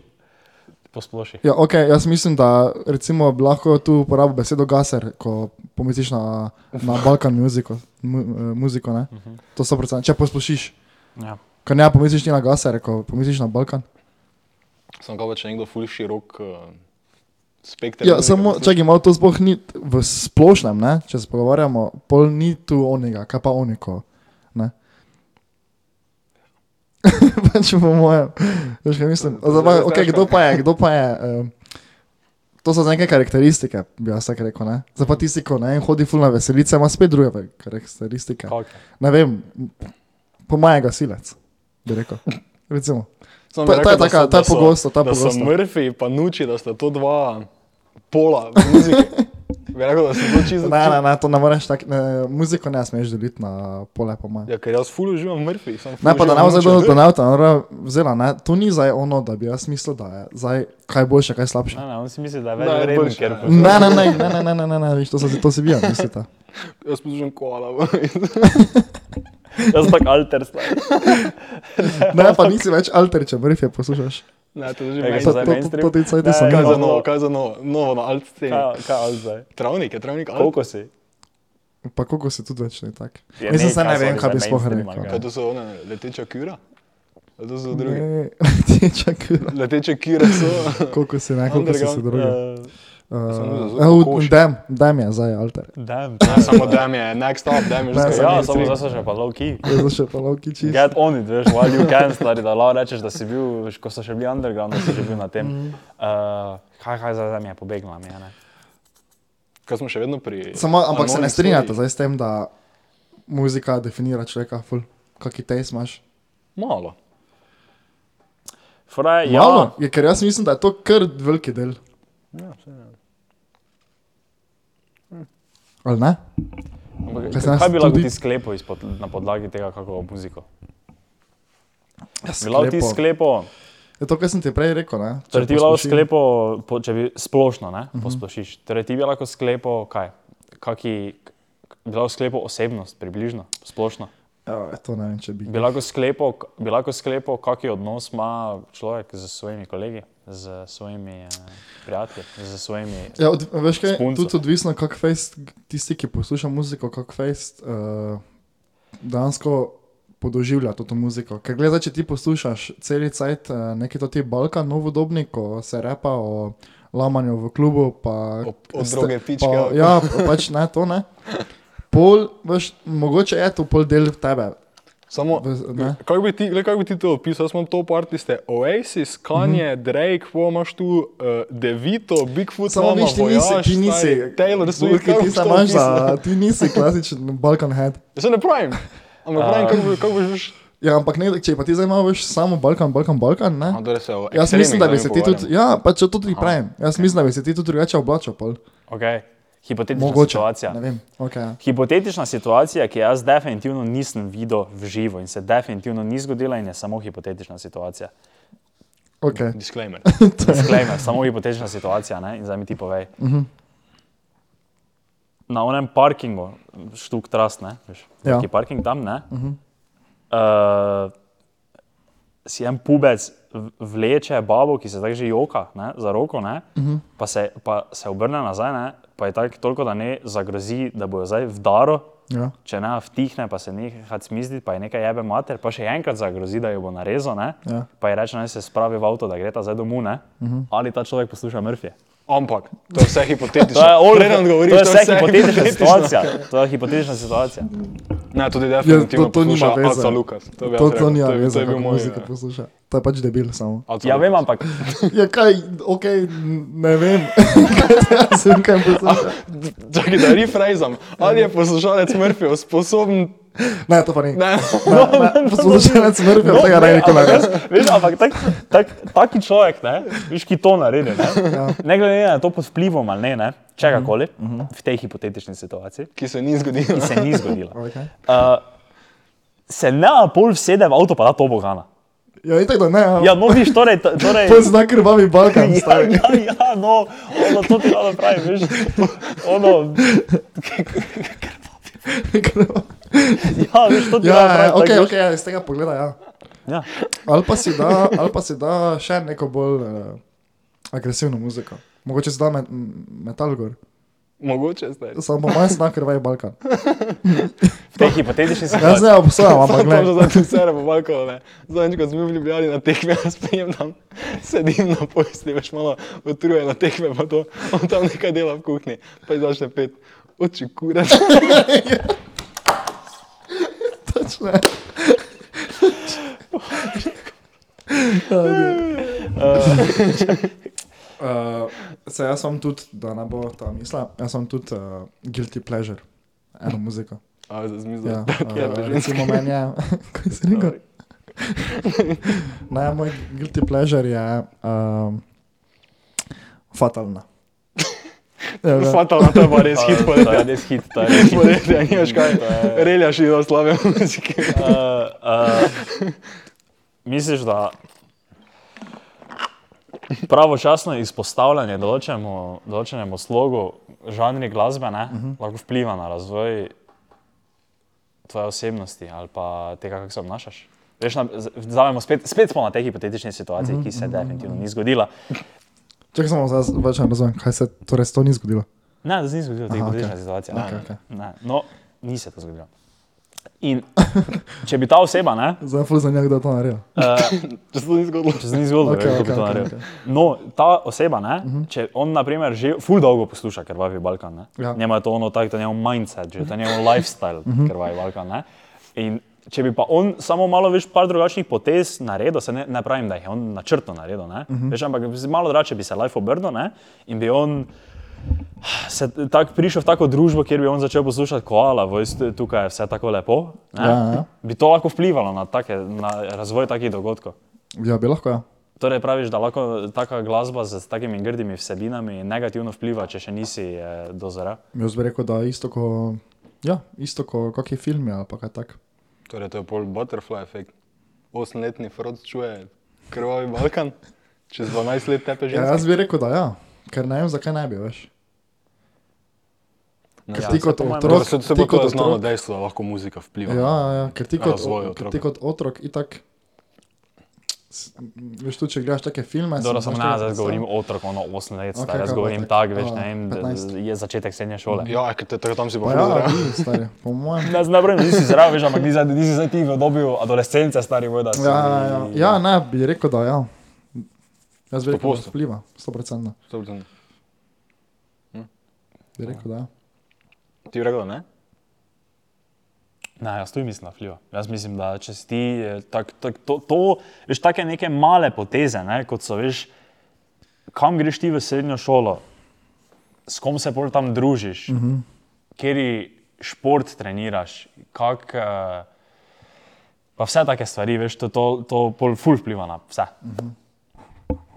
Speaker 4: Posploši.
Speaker 2: Ja, ok, jaz mislim, da recimo bi lahko tu uporabo besedo gaser, ko pomisliš na, na Balkan muziko. Mu, eh, muziko ne?
Speaker 4: Mhm.
Speaker 2: To so predvsem, če posplošiš.
Speaker 4: Ja.
Speaker 2: Ko ne pomisliš ni na gaser, ko pomisliš na Balkan.
Speaker 5: Sem ga pač nekdo ful širok uh, spekter.
Speaker 2: Ja, samo, čakaj, malo to sploh ni t- v splošnem, ne? če se pogovarjamo, pol ni tu onega, kaj pa oniko. Ne? pač po mojem, veš kaj mislim. Zdaj, okay, kdo pa je, kdo pa je. Um, to so zdaj neke karakteristike, bi jaz tako rekel. ne. Zdaj pa tisti, ko ne en hodi fulna veselice, ima spet druge karakteristike.
Speaker 4: Kak?
Speaker 2: Ne vem, po mojem gasilec, bi rekel. Recimo.
Speaker 5: Sam
Speaker 2: To- to je taka- to je pogosto, to je
Speaker 5: da
Speaker 2: pogosto.
Speaker 5: Da so Murphy pa Nuči, da sta to dva pola muzike. Bi rekel, da so to čisto.
Speaker 2: Ne, ne, ne, to ne moreš tako, ne, muziko ne smeš deliti na pole, po mojem.
Speaker 5: Ja, ker jaz ful uživam Murphy. sam ful
Speaker 2: Ne, pa da ne bo
Speaker 5: uživam
Speaker 2: zdaj
Speaker 5: Nučija.
Speaker 2: do Donalda vzela, ne, to ni zdaj ono, da bi jaz mislil, da je zdaj kaj boljše, kaj slabše.
Speaker 4: Ne, ne, on si misli, da je
Speaker 5: Da je
Speaker 4: več vreden,
Speaker 5: boljše,
Speaker 4: ker
Speaker 5: ne.
Speaker 2: Ne, ne, ne, ne, ne, ne, ne, ne, ne viš, to, so, to si vi, ja, mislite.
Speaker 5: Jaz poslušam koala.
Speaker 4: jaz tak alter star.
Speaker 2: Ne, pa nisi več alter, če mrif je poslušaš.
Speaker 5: ne, to že
Speaker 4: Ej,
Speaker 5: meni.
Speaker 2: To, to,
Speaker 4: zdaj
Speaker 2: to,
Speaker 4: mainstream?
Speaker 2: to ti caj ti sem.
Speaker 4: Ne, no,
Speaker 5: Kaj za
Speaker 4: Kaj
Speaker 5: novo,
Speaker 4: novo?
Speaker 5: kaj za novo, novo na alt sceni.
Speaker 4: Kaj, kaj on zdaj?
Speaker 5: Travnik je, travnik alt.
Speaker 4: Ja. Koliko si?
Speaker 2: Pa koliko si tudi več ne tak.
Speaker 4: Ja,
Speaker 2: Mislim,
Speaker 4: ne,
Speaker 2: se ne
Speaker 4: kaj so
Speaker 2: vem,
Speaker 4: oni
Speaker 2: kaj bi
Speaker 4: zdaj
Speaker 2: spoh
Speaker 4: mainstream,
Speaker 2: rekel.
Speaker 4: ali
Speaker 5: Kaj to so one, leteča kira? A to so drugi.
Speaker 2: Ne, ti čakaj, no,
Speaker 5: Leteče kire so.
Speaker 2: koliko si ne, koliko si se
Speaker 5: Underground, ja.
Speaker 2: drugi.
Speaker 5: samo
Speaker 4: Uh,
Speaker 5: za
Speaker 2: Uh,
Speaker 5: zelo kokoši.
Speaker 2: uh, dem, dem je zdaj alter.
Speaker 4: damn,
Speaker 5: Samo dam je, next up, dam je že
Speaker 2: Ne, Sam
Speaker 5: skoraj.
Speaker 4: Ja, samo
Speaker 2: mainstream.
Speaker 4: zdaj so še pa low key.
Speaker 2: Je zašel pa
Speaker 5: Ja.
Speaker 2: lovki čist.
Speaker 4: Get on it, veš, while you can, stari, da lahko rečeš, da si bil, ko so še bili underground, da si že bil na tem.
Speaker 2: Mhm.
Speaker 4: Uh, kaj, kaj zdaj mi je pobegnila, mi je ne.
Speaker 5: Kaj smo še vedno pri...
Speaker 2: Samo, ampak se ne
Speaker 5: anonimni
Speaker 2: strinjate
Speaker 5: storiji?
Speaker 2: zdaj s tem, da muzika definira človeka, ful, kaki test imaš.
Speaker 5: Malo.
Speaker 4: Fora je,
Speaker 2: Malo,
Speaker 4: ja,
Speaker 2: je, ker jaz mislim, da je to kar veliki del. Hm. Ali ne?
Speaker 4: ampak
Speaker 2: Kaj sem
Speaker 4: kaj bi lahko
Speaker 2: tudi-
Speaker 4: ti sklepal izpod, na podlagi tega, kako muziko?
Speaker 2: Ja,
Speaker 4: Bi lahko ti
Speaker 2: sklepo.
Speaker 4: sklepal,
Speaker 2: Je to, kar sem ti prej rekel. Ne?
Speaker 4: torej ti bi lahko
Speaker 2: posplošim.
Speaker 4: sklepal, po, če bi splošno, ne,
Speaker 2: Mhm.
Speaker 4: posplošiš, torej ti bi lahko sklepal, kaj, kaki, bi lahko sklepal osebnost, približno, splošno.
Speaker 2: Ja, to ne vem, če bi.
Speaker 4: Bi lahko sklepal, bi lahko sklepal kakšen odnos ima človek z svojimi kolegi, z svojimi eh, prijatelji, z svojimi.
Speaker 2: Ja, od, veš kaj,
Speaker 4: S punco.
Speaker 2: tudi odvisno, kako fejst, tisti, ki posluša muziko, kako fejst uh, dejansko podoživlja to to muziko. Ker gledaj, če ti poslušaš cel cajt uh, neki to ti Balkan, novodobni, ko se repa o lamanju v klubu, pa
Speaker 5: O- o
Speaker 2: ste-
Speaker 5: droge pičke,
Speaker 2: Pa,
Speaker 5: ali-
Speaker 2: ja, pa pač ne, to ne. Pol, veš, mogoče je to pol del tebe.
Speaker 5: Samo,
Speaker 2: V- ne.
Speaker 5: kako bi, ti- glej, kako bi ti to opisal? Jaz imam top artiste Oasis, Kanye,
Speaker 2: Mhm.
Speaker 5: Drake, po imaš tu uh, Devito, Bigfoot,
Speaker 2: Samo
Speaker 5: mama,
Speaker 2: nič, ti nisi,
Speaker 5: Vojaž,
Speaker 2: ti nisi,
Speaker 5: stari, Taylor Swift,
Speaker 2: Burki,
Speaker 5: kako
Speaker 2: ti,
Speaker 5: boš to
Speaker 2: se imaš
Speaker 5: opisal?
Speaker 2: za, ti nisi klasičen Balkan head.
Speaker 5: Jaz se ne pravim, ampak pravim, kako bi- kako boš...
Speaker 2: Ja, ampak ne, če pa ti zdaj imaš samo Balkan, Balkan, Balkan, ne?
Speaker 5: No, torej
Speaker 2: Jaz mislim, da bi se ti tudi, ja, pa če to tudi pravim, jaz mislim, da bi se ti tudi drugače oblačil, pol.
Speaker 4: Okay. Hipotetična
Speaker 2: mogoče.
Speaker 4: situacija.
Speaker 2: Ne vem, ja. okay.
Speaker 4: Hipotetična situacija, ki jo jaz definitivno nisem videl v živo in se definitivno ni zgodila, in je samo hipotetična situacija.
Speaker 2: Okay.
Speaker 5: Disclaimer.
Speaker 4: Disclaimer, samo hipotetična situacija, ne? in zdaj mi ti povej. Uh -huh. Na onem parkingu, štuk trast, ne, veš,
Speaker 2: Ja.
Speaker 4: ja. ki je parking tam, ne. Uh -huh. uh, si en pubec v- vleče babo, ki se tako že joka ne, za roko, ne, uh -huh. pa, se, pa se obrne nazaj, ne, pa je tako toliko, da ne zagrozi, da bojo zdaj vdaro.
Speaker 2: Ja.
Speaker 4: Če ne vtihne, pa se neha smisliti, pa je nekaj jebe mater, pa še enkrat zagrozi, da jo bo narezal, ne?
Speaker 2: Ja.
Speaker 4: pa je reče, naj se spravi v avto, da gre ta zdaj domov. Uh -huh. Ali ta človek posluša Murphyja?
Speaker 5: Ampak, to je vse hipotetično. Preden odgovoriš,
Speaker 4: to je vse hipotetična situacija. To je hipotetična situacija.
Speaker 5: Ne, tudi
Speaker 2: Ja,
Speaker 5: definitivno
Speaker 2: to, to nima
Speaker 5: posluša
Speaker 2: veze.
Speaker 5: Alca Lukas. Ja, torej, To, bi
Speaker 2: to,
Speaker 5: jaz
Speaker 2: to
Speaker 5: rekel.
Speaker 2: nima
Speaker 5: je-
Speaker 2: veze,
Speaker 5: je bil
Speaker 2: kako
Speaker 5: moj,
Speaker 2: muzika
Speaker 5: ja.
Speaker 2: posluša. To je pač debil samo.
Speaker 5: Alca
Speaker 4: Ja,
Speaker 5: Lukas.
Speaker 4: vem, ampak
Speaker 2: Ja, kaj, ok, ne vem, kaj se jim kaj posluša.
Speaker 5: Čakaj, da rephrasam. Ali je poslušalec Murphy sposoben...
Speaker 2: Ne, to pa ni.
Speaker 5: Ne,
Speaker 2: Poslušalec mrtev, tega ne nikoli ne veš.
Speaker 4: No, Veš, ampak tak, tak, taki človek, ne, veš, ki to naredi. Ne, ja. ne glede na to pod vplivom ali ne, ne čega koli, uh -huh. v tej hipotetični situaciji,
Speaker 5: ki se ni zgodil.
Speaker 4: ki se ni zgodila,
Speaker 2: Okay.
Speaker 4: uh, se ne pol vsede v avto, pa da to bogana.
Speaker 2: Ja, itak da ne, ja.
Speaker 4: Ja, no, viš, torej, to- torej
Speaker 2: To je znak krvavi Balkan,
Speaker 4: Ja,
Speaker 2: stari.
Speaker 4: ja, ja, no, ono, to ti rado pravi, veš. Ono, ja, veš, to ti
Speaker 2: Ja,
Speaker 4: rado
Speaker 2: ja,
Speaker 4: pravi.
Speaker 2: ja, ok,
Speaker 4: tako, veš.
Speaker 2: ok, ja, iz tega pogleda, ja.
Speaker 4: Ja.
Speaker 2: Ali pa si da, ali pa si da še neko bolj uh, agresivno muziko. Mogoče si da met, m, metal gor.
Speaker 5: Mogoče zdaj.
Speaker 2: Samo po mojem znak krvaj Balkan.
Speaker 4: V tej hipotetični
Speaker 2: Jaz
Speaker 4: situaciji.
Speaker 2: ne obsojam, ampak
Speaker 5: Tam že
Speaker 2: ne.
Speaker 5: zdaj sicer bo balkal, ne. Zadnjič, ko smo bili v Ljubljani na tekme, jaz prijem tam, sedim na pojsti, veš malo utrujen na tekme, pa to, on tam nekaj dela v kuhinji, pa jih začne pet. Oči kurac.
Speaker 2: Točno. Uh, se jaz sem tudi, da ne bo ta misla, jaz sem tudi uh, guilty pleasure, eno muziko.
Speaker 5: A, zdaj zmizel.
Speaker 2: Ja,
Speaker 5: Tako je,
Speaker 2: eh,
Speaker 5: da ženska.
Speaker 2: recimo meni je, kaj si rekel? ne, moj guilty pleasure je um, fatalna. Ja, ja.
Speaker 5: Fatalno, to je pa res hit
Speaker 4: To je
Speaker 5: poletja.
Speaker 4: res hit, to je res hit.
Speaker 5: Poletja, nimaš kaj. Reljaš in oslave muzike.
Speaker 4: Uh, uh, misliš, da pravočasno izpostavljanje določenemu, določenemu slogu, žanri glasbe, ne, uh
Speaker 2: Mhm.
Speaker 4: -huh. lahko vpliva na razvoj tvoje osebnosti ali pa tega, kako se obnašaš? Veš, na, z- vzamemo spet, spet smo na tej hipotetični situaciji,
Speaker 2: Mhm.
Speaker 4: ki se definitivno ni zgodila.
Speaker 2: Čakaj, samo zdaj več ne razumem, kaj se torej s to ni zgodilo.
Speaker 4: Ne, da se ni zgodila ta hipotetična
Speaker 2: okej.
Speaker 4: situacija.
Speaker 2: Okej,
Speaker 4: Ne,
Speaker 2: okej.
Speaker 4: ne, no, ni se to zgodilo. In če bi ta oseba, ne,
Speaker 2: Zdaj ful za njega, da to naredi.
Speaker 5: Če se to ni zgodilo.
Speaker 4: Če se ni zgodilo,
Speaker 2: Okej,
Speaker 4: okay,
Speaker 2: okej, Mhm.
Speaker 4: kako okay, to
Speaker 2: okej,
Speaker 4: naredil. Okay. No, ta oseba, ne, uh -huh. če on naprimer že ful dolgo posluša Krvavi Balkan, ne,
Speaker 2: Ja. Mhm.
Speaker 4: ja. njemu je to ono tako, to je njegov mindset, že to je njegov lifestyle Krvavi Balkan. Ne, in če bi pa on samo malo več par drugačnih potez naredil, se ne, ne pravim, da jih je on načrtno naredil, ne, uh -huh.
Speaker 2: Mhm.
Speaker 4: veš, ampak malo drugače bi se life obrnil ne, in bi on se tak, prišel v tako družbo, kjer bi on začel poslušati koala, vojst, tukaj je vse tako lepo, ne,
Speaker 2: Ja, ja.
Speaker 4: bi to lahko vplivalo na, take, na razvoj takih dogodkov.
Speaker 2: Ja, bi lahko, ja.
Speaker 4: Torej, praviš, da lahko taka glasba z takimi grdimi vsebinami negativno vpliva, če še nisi eh, dozorel.
Speaker 2: Jaz bi rekel, da isto kot ja, isto ko, kak je film ali pa kaj tak.
Speaker 5: Torej, to je pol butterfly efekt. Osemletni frod čuje krvavi Balkan, čez 12 let tepe že.
Speaker 2: Ja, jaz bi rekel, da ja, ker ne vem, zakaj ne bi več. Ker ti kot
Speaker 5: Torej,
Speaker 2: otrok,
Speaker 5: se se
Speaker 2: ti
Speaker 5: bo to
Speaker 2: kot
Speaker 5: znano
Speaker 2: otrok,
Speaker 5: dejstvo, da lahko muzika vpliva.
Speaker 2: ja, ja, ja, ker ti kot,
Speaker 5: Razvoj
Speaker 2: ker
Speaker 5: otroka.
Speaker 2: ti kot otrok itak, s- veš tu, če gledaš take filme, pač si
Speaker 4: Dobro, sem
Speaker 2: znaš
Speaker 4: ne,
Speaker 2: tega
Speaker 4: zdaj govorim
Speaker 2: predstavljati.
Speaker 4: otrok, ono 8 let
Speaker 2: Okej,
Speaker 4: star, jaz
Speaker 2: kaj
Speaker 4: govorim
Speaker 2: otrok?
Speaker 4: tako, veš,
Speaker 2: A,
Speaker 4: ne vem, da
Speaker 2: 15.
Speaker 4: je začetek srednje šole.
Speaker 5: Ja, ker te- tako tam si pa
Speaker 2: Pa
Speaker 5: hudo,
Speaker 2: ja,
Speaker 5: ja.
Speaker 2: vi, stari, po mojem.
Speaker 4: Ne, zdaj nisi zraven, veš, ampak nisi zdaj- nisi zdaj ti v obdobju adolescence, stari voda.
Speaker 2: Ja, ja, ja. ja, ne, bi rekel, da ja. Jaz bi rekel, da
Speaker 5: 100%.
Speaker 2: vpliva, 100%.
Speaker 5: Stoprocentno.
Speaker 2: Bi rekel, da ja.
Speaker 5: Ti bi rekel, ne?
Speaker 4: Ne, jaz tudi mislim, da vpliva. Jaz mislim, da če si ti eh, tak, tak, to, to, veš, take neke male poteze, ne, kot so, veš, kam greš ti v srednjo šolo, s kom se bolj tam družiš, uh -huh. kjeri šport treniraš, kak, eh, pa vse take stvari, veš, to, to, to pol ful vpliva na vse.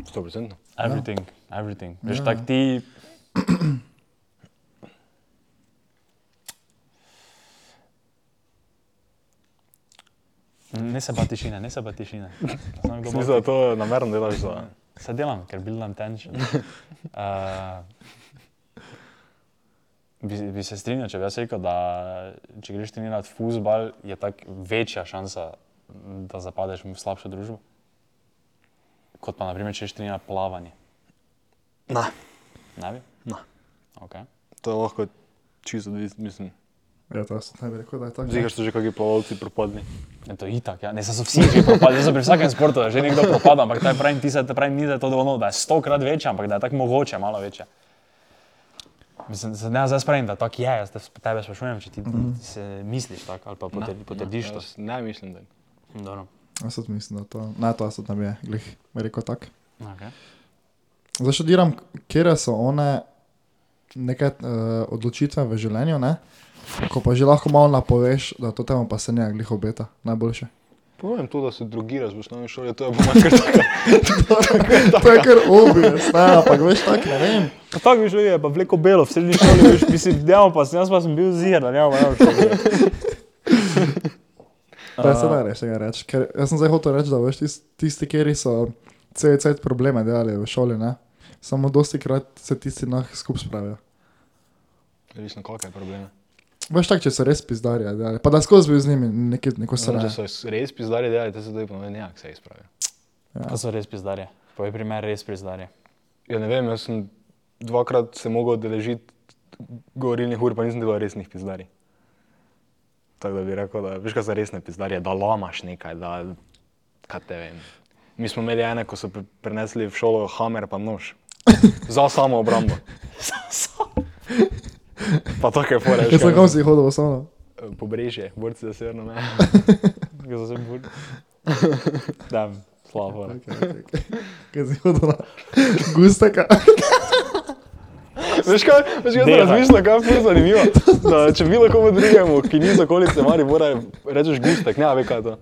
Speaker 5: Stoprocentno.
Speaker 4: Everything, everything. Veš, tak ti. Ne se pa tišine, ne se pa tišine. Znam, kdo bo-
Speaker 5: Mislim, da to namerno delaš za.
Speaker 4: Se delam, ker buildam tension. Uh, bi, bi se strinjal, če bi jaz rekel, da če greš trenirati fusbal, je tako večja šansa, da zapadeš v slabšo družbo. Kot pa, naprimer, če greš trenirati plavanje.
Speaker 5: Na,
Speaker 4: Ne bi?
Speaker 5: Ne.
Speaker 4: Okay.
Speaker 5: to je lahko čisto, odvisno, mislim.
Speaker 2: Ja, to jaz ne bi rekel, da je tako.
Speaker 5: Zigaš to že, kakšni plavalci propadni.
Speaker 4: Ne, to je itak, ja. ne, saj so vsi že propadli, zdaj so pri vsakem športu da že nekdo propada, ampak ta pravim, ti se ta pravim, ni da je to dovoljno, da je stokrat večje, ampak da je tako mogoče malo večje. Mislim, se ne, zdaj spravim, da tako je, jaz te, tebe sprašujem, če ti se misliš tako ali pa potrdi- potrdiš to.
Speaker 5: Jaz Ne, mislim, da.
Speaker 4: Dobro.
Speaker 2: Jaz tudi mislim, da to. Ne, to jaz tudi ne bi glih, bi rekel tako.
Speaker 4: Okay.
Speaker 2: Zdaj še diram, kje so one neke uh, odločitve v življenju, ne? ko pa že lahko malo napoveš, da to temu pa se ne glih obeta najboljše.
Speaker 5: Povem to, da se drugiraš v osnovni šoli, to je po mojem kar tako.
Speaker 2: to je kar obvious, ne, ampak veš tako, ne vem.
Speaker 4: Pa tako bi šlo, je pa vleko belo, v srednji šoli, veš, mislim, delamo pa sem, jaz pa sem bil zir, da ne vem, kaj.
Speaker 2: To je sedaj reč, tega reč. Ker jaz sem zdaj hotel reči, da veš tisti, tisti kjer so cel cel probleme delali v šoli, ne? samo dosti krat se tisti nah skup spravijo.
Speaker 5: Resno, kakšne probleme.
Speaker 2: Veš tako, če so res pizdarja, delali, pa da skozi bil z njimi neki, neko
Speaker 5: Samo,
Speaker 2: sranje.
Speaker 5: Ja, če so res pizdari delali, te se tudi pomeni, da se izpravijo.
Speaker 4: To so res pizdarje. Povej primer, res pizdarje.
Speaker 5: Ja, ne vem, jaz sem dvakrat se mogel odeležiti govorilnih ur, pa nisem delal resnih pizdari. Tako da bi rekel, da veš, kaj za resne pizdarje, da lamaš nekaj, da kaj te vem. Mi smo imeli ene, ko so pri- prinesli v šolo hamer pa nož. Za samo obrambo. pa take fore. veš,
Speaker 2: Jaz sem
Speaker 5: kaj
Speaker 2: kam si hodil, samo.
Speaker 5: mislim. Pobrežje, borci za severno mejo.
Speaker 4: Ga za sem bur. Da, slabo.
Speaker 2: Kaj si hodil na gustaka?
Speaker 5: Veš kaj, veš kaj sem
Speaker 4: Deva.
Speaker 5: razmišljal, kaj je ful zanimivo. Da, če bilo komu drugemu, ki ni iz okolice Maribora, rečeš gustek, ne, a ve kaj je to.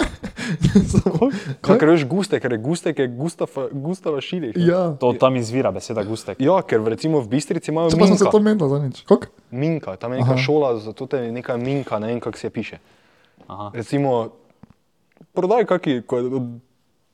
Speaker 2: Samo-
Speaker 5: Kaj ker veš gustek, ker je gustek je Gustava, Gustava Šiliš. ne?
Speaker 2: Ja.
Speaker 4: To tam izvira beseda gustek.
Speaker 5: ja, ker v- recimo v Bistrici imajo
Speaker 2: Če pa sem se
Speaker 5: minka.
Speaker 2: to menil za nič. Kak?
Speaker 5: minka, tam je neka Aha. šola, zato te je neka minka, ne vem kako se piše.
Speaker 4: Aha.
Speaker 5: Recimo, prodaj kaki, ko je od,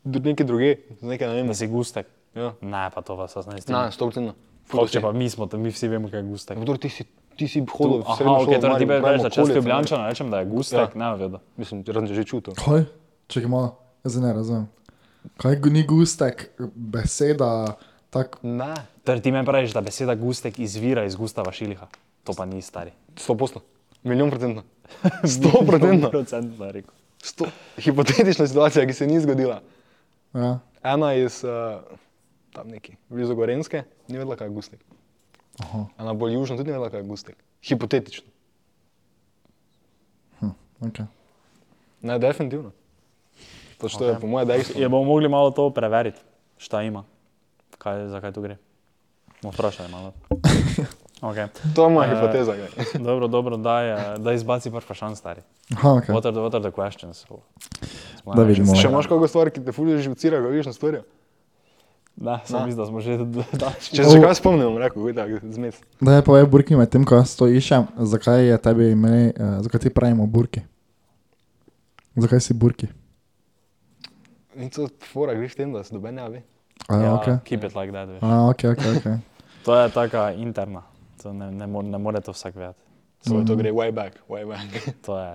Speaker 5: od neke druge, z neke ne vem.
Speaker 4: Da si gustek.
Speaker 5: Ja.
Speaker 4: Ne, pa to vas jaz ne
Speaker 5: Na,
Speaker 4: strinjam.
Speaker 5: stopcena.
Speaker 4: To, Če pa mi smo, to mi vsi vemo, kaj je gustek.
Speaker 5: Kdor ti si, ti si hodil
Speaker 4: Tu,
Speaker 5: v
Speaker 4: aha,
Speaker 5: srednjo šolo
Speaker 4: ok,
Speaker 5: v
Speaker 4: torej ti
Speaker 5: Maribor,
Speaker 4: rečeš, da
Speaker 5: pravimo
Speaker 4: če jaz
Speaker 5: okolico,
Speaker 4: ljubljančan rečem, da je gustek, ne vem.
Speaker 5: Mislim, razen če že čutil.
Speaker 2: Kaj? Čekaj malo, jaz zdaj ne razumem. Kaj gu- ni gustek, beseda, tak...
Speaker 5: Ne,
Speaker 4: Torej ti meni praviš, da beseda gustek izvira iz Gustava Šiliha. To pa ni stari.
Speaker 5: sto posla. Milijon procentno. Sto procentno.
Speaker 4: Procentno rekel.
Speaker 5: Sto. Hipotetična situacija, ki se ni zgodila.
Speaker 2: Ja.
Speaker 5: Ena iz uh, tam neki, blizu Gorenske, ni vedela, kaj je gustek.
Speaker 2: Aha.
Speaker 5: Ena bolj južna tudi ni vedela, kaj je gustek. Hipotetično.
Speaker 2: Okay.
Speaker 5: Ne, definitivno. Pač to okay. je po mojem dejstvu.
Speaker 4: Je bomo mogli malo to preveriti, šta ima, kaj, zakaj tu gre. No, vprašaj malo. Okay.
Speaker 5: To je moja
Speaker 4: Eh,
Speaker 5: hipoteza. Kaj.
Speaker 4: Dobro, dobro, daj, eh, daj izbaci par vprašanj, stari.
Speaker 2: Aha, okay.
Speaker 4: What are the, what are the questions?
Speaker 2: Da vidimo.
Speaker 5: Če imaš kakšno stvar, ki te fulje živcira, ga vidiš na stvarjo.
Speaker 4: Ne, sem mislil, da smo že dači.
Speaker 5: Če se kaj spomnim, rekel bi, da zmes.
Speaker 2: Da je povej burki med tem, ko jaz to iščem, zakaj je tebi ime, uh, zakaj ti pravimo burki? Zakaj si burki?
Speaker 5: In to fora greš tem, da se dobe ne ve.
Speaker 2: A, ja, ok.
Speaker 4: Keep it like that. veš.
Speaker 2: A, ok, ok, ok.
Speaker 4: To je taka interna, to ne, ne, more, ne more to vsak vedeti.
Speaker 5: Samo to gre way back, way back.
Speaker 4: To je.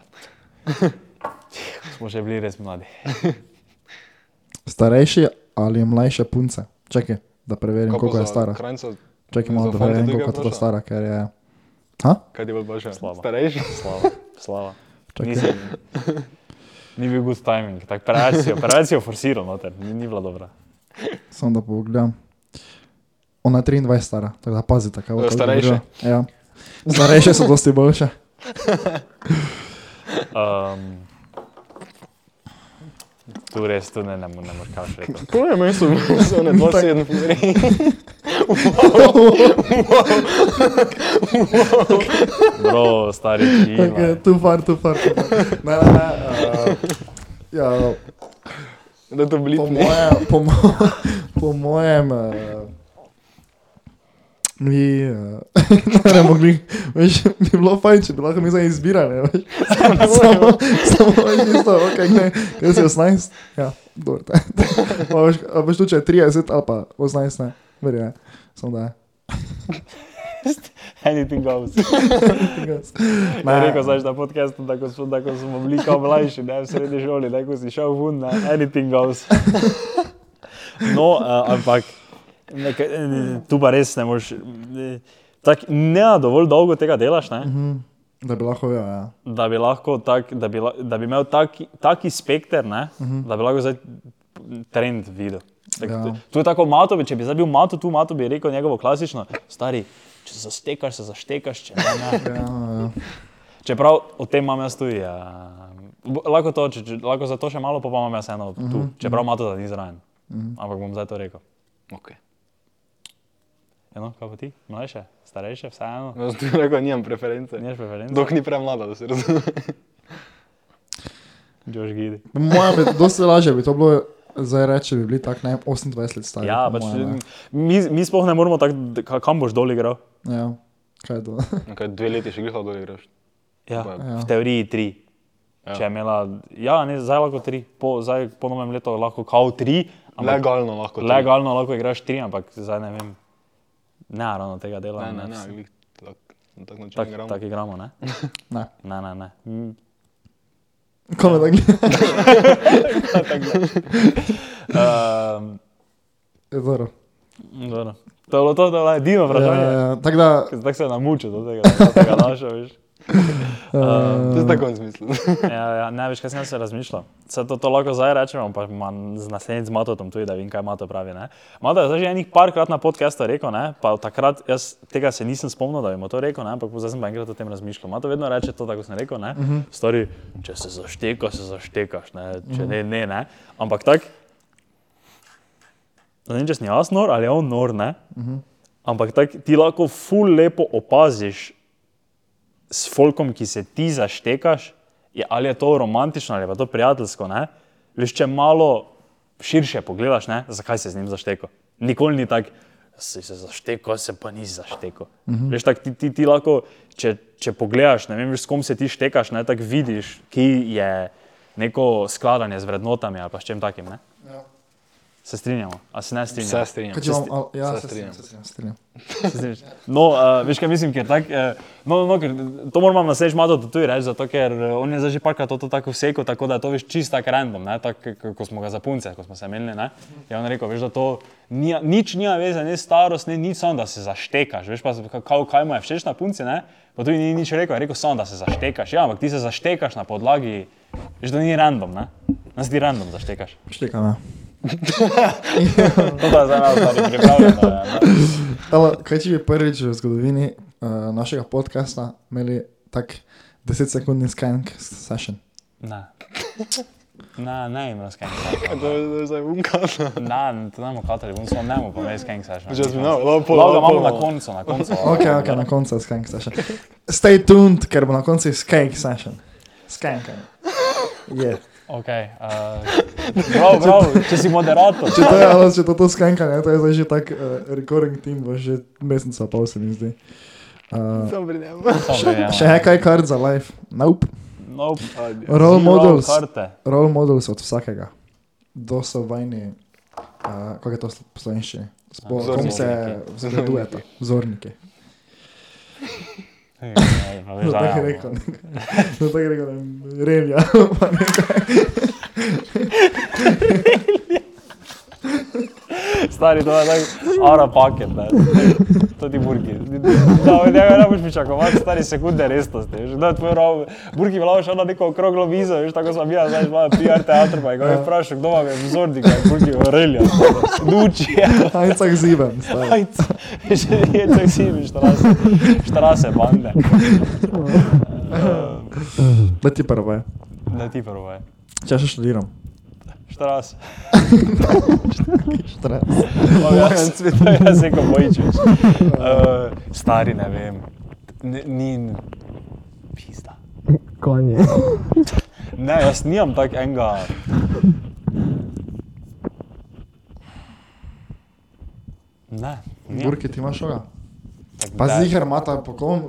Speaker 4: Smo že bili res mladi.
Speaker 2: Starejši ali mlajše punce? Čakaj, da preverim, koliko je stara.
Speaker 5: Kranjca,
Speaker 2: Čakaj malo, da
Speaker 5: za fante
Speaker 2: preverim,
Speaker 5: tega
Speaker 2: koliko je ta
Speaker 5: vprašaj.
Speaker 2: stara, ker je... Ha?
Speaker 5: kaj ti bo boljše?
Speaker 4: Slabo.
Speaker 5: Starejši?
Speaker 4: Slava, slava.
Speaker 2: Čakaj.
Speaker 4: Nisem, ni bil good timing, tako preveč si jo- preveč si jo forsiral, noter. ni, ni bila dobra.
Speaker 2: Samo da pogledam. Ona je 23 stara, tako da pazite, kaj bo.
Speaker 5: Ja,
Speaker 2: kaj bo
Speaker 5: starejše.
Speaker 2: govorila. Ja. Starejše so dosti boljše.
Speaker 4: Um, tu res tu ne, ne, mo- ne moreš kaj še reči.
Speaker 5: To je meni so one 27 pomeri.
Speaker 4: Bro, stari ti.
Speaker 2: Okay, tu far, tu far, tu far. Ne, ne, ne. Uh, ja,
Speaker 5: Da to bili
Speaker 2: po, moje, po, mo po mojem, uh, mi uh, ne bi mogli, veš, bi bilo fajn, če bi lahko mi zdaj izbirali, veš. samo, samo veš, isto, ok, ne, kaj si 18, ja, dobro, te. Pa veš, a veš tu, če je 30 ali pa 18, ne, verjame, samo da je.
Speaker 4: Anything goes. Ne, rekel znaš na podkastu, da ko smo, da ko smo bili kao mlajši, ne, v srednji šoli, da ko si šel vun, ne, anything goes. No, uh, ampak nek, eh, tu pa res ne moreš, eh, tako ne dovolj dolgo tega delaš, ne,
Speaker 2: Da bi lahko, ja, ja.
Speaker 4: da bi lahko tak, da bi, la- da bi imel taki, taki spekter, ne, da bi lahko zdaj trend videl. Tak,
Speaker 2: Ja.
Speaker 4: tu- Tu je tako Mato, če bi zdaj bil Mato, tu Mato bi rekel njegovo klasično, stari, če se zastekaš, se zaštekaš, če ne, ne.
Speaker 2: ja, ja.
Speaker 4: Čeprav o tem imam jaz tudi. Ja. Lahko, to, če, če, lahko za to še malo, pa pa imam jaz eno tu, mm -hmm. čeprav ima to, da ni zraven. Mm -hmm. Ampak bom zdaj to rekel.
Speaker 5: Okay.
Speaker 4: Eno, kaj pa ti, mlajše, starejše, vseeno.
Speaker 5: Jaz ti rekel, nimam preference.
Speaker 4: Nimaš preferenc?
Speaker 5: Dok ni premlada, da se razume.
Speaker 4: Jož Gidi.
Speaker 2: Po mojem, bi- dosti lažje bi to bilo, zdaj reče, bi bili tak, ne, 28 let stari.
Speaker 4: Ja,
Speaker 2: po
Speaker 4: pač
Speaker 2: moje, ne.
Speaker 4: mi, mi sploh ne moremo tako, d- ka- kam boš dol igral.
Speaker 2: Ja, kaj je to?
Speaker 4: No,
Speaker 5: Nekaj dve leti še greš, da igraš.
Speaker 4: Ja,
Speaker 5: Ja.
Speaker 4: v teoriji tri. Ja. Če je imela, ja, ne, zdaj lahko tri, po, zdaj po novem letu lahko kao tri, ampak
Speaker 5: Legalno lahko. to-
Speaker 4: legalno lahko igraš tri, ampak zdaj ne vem, ne ravno tega dela.
Speaker 5: Ne, ne, ne, glih tak, na tak način
Speaker 4: Tako
Speaker 5: igramo.
Speaker 4: tak igramo, ne?
Speaker 2: Ne.
Speaker 4: Ne, ne, ne. Mm,
Speaker 2: Kome da gleda?
Speaker 4: Ja. Ehm,
Speaker 2: Je Dobro.
Speaker 4: dobro. To je bilo to, da je bilo edino
Speaker 2: Ja,
Speaker 4: vprašanje. Ja, ja.
Speaker 2: ja, tako da,
Speaker 4: Tako se je namučil do tega, da se ga naša, veš.
Speaker 5: To je tako smisel.
Speaker 4: Ja, ja, ne veš, kaj sem jaz se razmišljal. Se to, to lahko zdaj rečemo, pa imam z naslednjim z Matotom tudi, da vem, kaj Mato pravi. Ne? Mato je zdaj že enih parkrat na podkastu rekel, ne? pa od takrat jaz tega se nisem spomnil, da bi mu to rekel, ne? ampak zdaj sem pa enkrat o tem razmišljal. Mato vedno reče to, tako sem rekel, ne? Stari, če se zašteka, se zaštekaš, ne? če ne, ne, ne. Ampak tako, ne vem, če sem jaz nor ali je on nor, ne? Ampak tako ti lahko ful lepo opaziš s folkom, ki se ti zaštekaš, je, ali je to romantično ali pa to prijateljsko. Ne? Veš, če malo širše pogledaš, ne? zakaj se z njim zašteko. Nikoli ni tako, si se zašteko, se pa nisi zašteko. Mhm. Veš, tak, ti, ti, ti lahko, če, če pogledaš, ne vem, veš, s kom se ti štekaš, ne, tako vidiš, ki je neko skladanje z vrednotami ali pa s čem takim. Ne? Se strinjamo, a Ja. se ne strinjamo.
Speaker 5: Vse strinjam.
Speaker 2: kaj če vam, al- ja,
Speaker 5: se
Speaker 2: se strinjam, se strinjam, se strinjam.
Speaker 4: No, uh, veš kaj mislim, ker tak, uh, no, no, ker to moram vam naslednjič malo tudi reči, zato ker eh, on je zdaj že parkrat to, to tako vseko, tako da je to veš čist tak random, ne, tak, k- ko smo ga za punce, ko smo se menili, ne. Je on rekel, veš, da to ni, nič nima veze, ne starost, ne nič, samo da se zaštekaš, veš pa, kaj, kaj mu je všeč na punci, ne. Pa tudi ni nič rekel, je rekel samo, da se zaštekaš, ja, ampak ti se zaštekaš na podlagi, veš, da ni random, ne. Nas ti random zaštekaš.
Speaker 2: Štekam, ja.
Speaker 4: To pa zdaj malo stvari pripravljeno. ja, ne.
Speaker 2: Alo, kaj če bi prvič v zgodovini uh, našega podcasta imeli tak 10-sekundni skank session?
Speaker 4: Ne. Ne, ne vem, razkaj.
Speaker 5: To je to je zdaj unkasno.
Speaker 4: Na, to nam okatali, bom samo nemo, pa ne skeng saš.
Speaker 5: Že smo, no, pol.
Speaker 4: Lahko ga imamo na koncu, na koncu.
Speaker 2: Ok, ok, na koncu je skank session. Stay tuned, ker bo na koncu skank session. Skank. Je. Yeah.
Speaker 4: Ok. Uh, prav, prav, če si moderator.
Speaker 2: Če to je, ali če to, to skankanje, to je zdaj že tak uh, recurring team, bo že meseca pol se mi zdi. Uh,
Speaker 5: Dobri, ne.
Speaker 4: Sorry,
Speaker 2: še
Speaker 4: ja.
Speaker 2: nekaj kart za life. Nope.
Speaker 4: Nope.
Speaker 2: Role
Speaker 4: Zero
Speaker 2: models.
Speaker 4: Karte.
Speaker 2: Role models od vsakega. Do so vajni, uh, kako je to v slovenščini? Spo-
Speaker 5: Vzorniki.
Speaker 2: Kom se zgledujete, vzorniki.
Speaker 4: Ej, pa veš,
Speaker 2: No,
Speaker 4: da
Speaker 2: tako je
Speaker 4: ja,
Speaker 2: rekel. No, tako je rekel, ne, revija. pa nekaj.
Speaker 4: Stari, to je tako ara paket, ne. To ti burki. Da, od njega ne boš pričakovati, stari sekunde resnosti. veš. Da, tvoj rov, burki vlava še na neko okroglo mizo, veš, tako sem bila, znaš, malo PR teatr, pa
Speaker 2: Ja.
Speaker 4: je ga je vprašal, kdo vam je vzornik, kaj burki vrlja. Duči je. ja.
Speaker 2: Ajcak zibem. stari.
Speaker 4: Ajc. Že je tako si, veš, štrase, štrase bande.
Speaker 2: Da ti prvo je.
Speaker 4: Da ti prvo je.
Speaker 2: Če še študiram.
Speaker 4: Štrase.
Speaker 2: Štre.
Speaker 4: Imam jaz, jaz neko bojičeš. Uh, stari, ne vem. Ni, ni pizda.
Speaker 6: Konje.
Speaker 4: Ne, jaz nimam tak enega. Ne, nimam.
Speaker 2: Burki, ti imaš šoga.
Speaker 4: Tako
Speaker 2: Pa
Speaker 4: da-
Speaker 2: zihar mata po kom.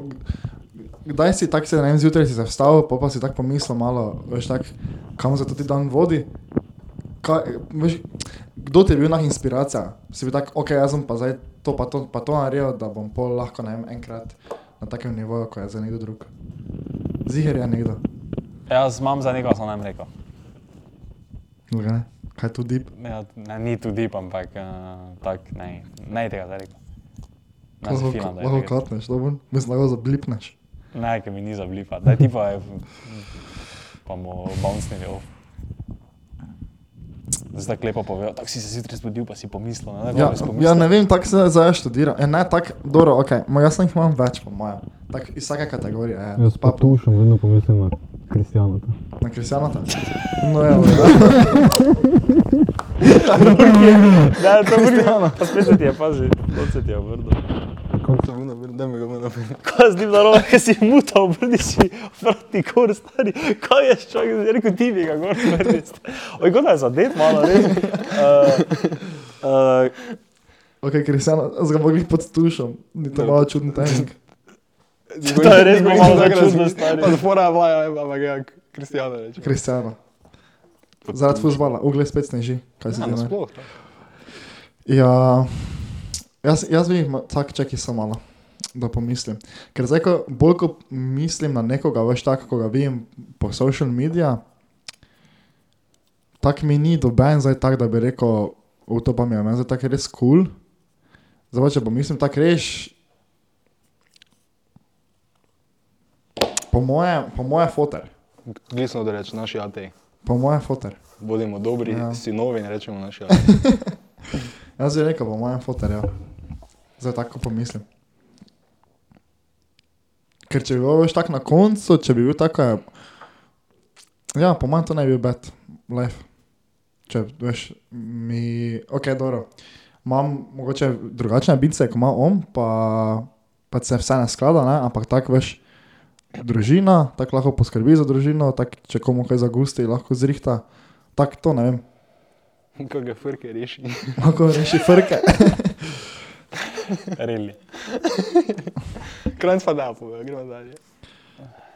Speaker 2: Kdaj si tako se na enem zjutraj si se vstal, pa pa si tako pomislil malo, veš, tak, kam se to ti dan vodi. Ka, veš, kdo ti je bil nah inspiracija? Si bil tak, ok, jaz sem pa zdaj to pa to, pa to naredil, da bom pol lahko na enem enkrat na takem nivoju, kot je za nekdo drug. Zihar je nekdo.
Speaker 4: Jaz imam za nekaj, sem nam rekel.
Speaker 2: No, ga ne? Kaj je tu deep?
Speaker 4: Ne, Ja, ne, ni tu deep, ampak uh, tak, ne, ne tega zdaj rekel. Ne, se
Speaker 2: Lahko
Speaker 4: filam, da je
Speaker 2: lahko
Speaker 4: tega.
Speaker 2: katneš, dobro? Mislim, lahko zablipneš.
Speaker 4: Ne, ki mi ni zablipa, da ti pa je, pa mu bouncni off. oh. Zdaj lepo povejo, tako si se zjutraj zbudil, pa si pomislil, ne,
Speaker 2: Ja,
Speaker 4: danes pomislil.
Speaker 2: ja, ne vem, tako se zdaj študira. E, ne, tako, dobro, ok, ma jaz sem jih imam več, po mojem. Tako iz vsake kategorije, je.
Speaker 6: Jaz pa tušam, vedno pomislim na Kristijana.
Speaker 2: Na Kristjana tam. No, ja, ja.
Speaker 4: Ne, to ni
Speaker 2: Ja, no.
Speaker 4: ono. Pa spet ti je, pazi, to se ti je obrnil.
Speaker 5: Kako sem bil na vrhu, da mi ga bomo napisali.
Speaker 4: Kaj z njim narobe, ker si muta obrni si, vrati gor, stari. Kaj je človek, zdaj rekel ti bi ga gor, vrti. Oj, kot da je zadet malo, res. Uh, uh,
Speaker 2: Ok, Kristjana, jaz ga mogli pod tušom, ni to malo čuden tajnik.
Speaker 4: to je res bilo malo začudno, stari.
Speaker 5: Pa zafora vlaja, ampak ja, Kristijana reče.
Speaker 2: Kristjana. Zaradi fuzbala, ugle spet sneži. Kaj si
Speaker 5: Ja,
Speaker 2: ti ne?
Speaker 5: nasploh. ne.
Speaker 2: Ja, jaz, jaz bi jih tako čakal samo malo, da pomislim. Ker zdaj, ko bolj ko mislim na nekoga, veš tako, ko ga vidim po social medijih, tako mi ni doben zdaj tak, da bi rekel, v to pa mi je meni zdaj tako res kul. Cool. Zdaj, pa, če pomislim tako reš. Po moje, po moje foter,
Speaker 5: Glisno, da reče naši ateji.
Speaker 2: po moje foter.
Speaker 5: Bodimo dobri
Speaker 2: Ja.
Speaker 5: ja. sinovi in rečemo naši ateji.
Speaker 2: Jaz bi rekel, po mojem fotor, ja. Zdaj tako pomislim. Ker če bi bil več tak na koncu, če bi bil tako, je... ja, po mojem to ne bi bil bed, life. Če veš, mi, ok, dobro. Imam mogoče drugačne ambicije, kot ima on, pa, pa se vse ne sklada, ne? ampak tako veš, družina, tako lahko poskrbi za družino, tako če komu kaj zagusti, lahko zrihta. Tako to ne vem,
Speaker 5: Kako ga frke reši.
Speaker 2: lahko reši frke.
Speaker 4: Reli.
Speaker 5: Kranc pa da, pove, gremo dalje.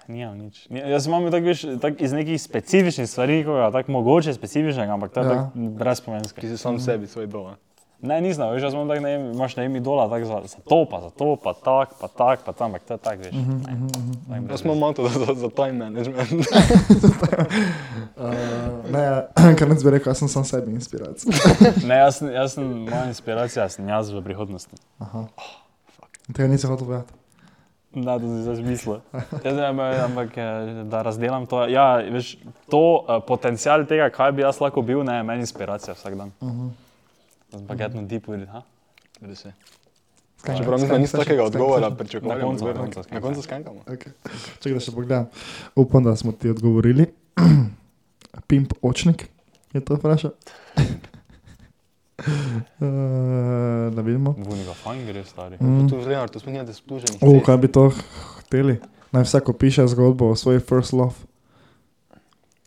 Speaker 4: Nimam nič. Ni- Jaz imam tako več, tak iz nekih specifičnih stvari, koga, tako mogoče specifičnega, ampak to je
Speaker 2: Ja.
Speaker 4: tako brezpomensko.
Speaker 5: Ti si sam sebi svoj dol.
Speaker 4: Ja, Ne, nisem, veš, jaz imam tako, ne vem, imaš na imi dola, tako za, za to, pa za to, pa tak, pa tak, pa tam, ampak to je tako, veš. ne. Tako brez-
Speaker 5: Jaz imam manto za, za, za time management.
Speaker 2: Uh, ne, kar ne bi rekel, jaz sem sam sebi inspiracija.
Speaker 4: Ne, jaz, sem- jaz sem, moja inspiracija sem jaz v prihodnosti.
Speaker 2: Aha. Tega nisem hotel povedati.
Speaker 4: Da, to si zdaj zmislil. Jaz ne vem, Ja, ampak eh, da razdelam to. Ja, veš, to eh, potencial tega, kaj bi jaz lahko bil, ne, je meni inspiracija vsak dan.
Speaker 2: Mhm.
Speaker 4: Ampak jedno deep with it, ha?
Speaker 2: Skanka,
Speaker 5: ja. Čeprav
Speaker 2: skanka,
Speaker 5: mislim, da nisi
Speaker 2: skanka,
Speaker 5: takega
Speaker 2: skanka,
Speaker 5: odgovora
Speaker 2: skanka.
Speaker 5: pričakoval.
Speaker 4: Na koncu, na koncu
Speaker 5: na koncu skankamo.
Speaker 2: Okay. Čekaj, da še pogledam. Upam, da smo ti odgovorili. Pimp očnik je to vprašal. Uh, da vidimo.
Speaker 4: Vuniga fajn gre, stari.
Speaker 2: Mm.
Speaker 5: Tu v Leonardu smo nekaj spluženih.
Speaker 2: U, kaj bi to hteli? Naj vsako piše zgodbo o svoji first love.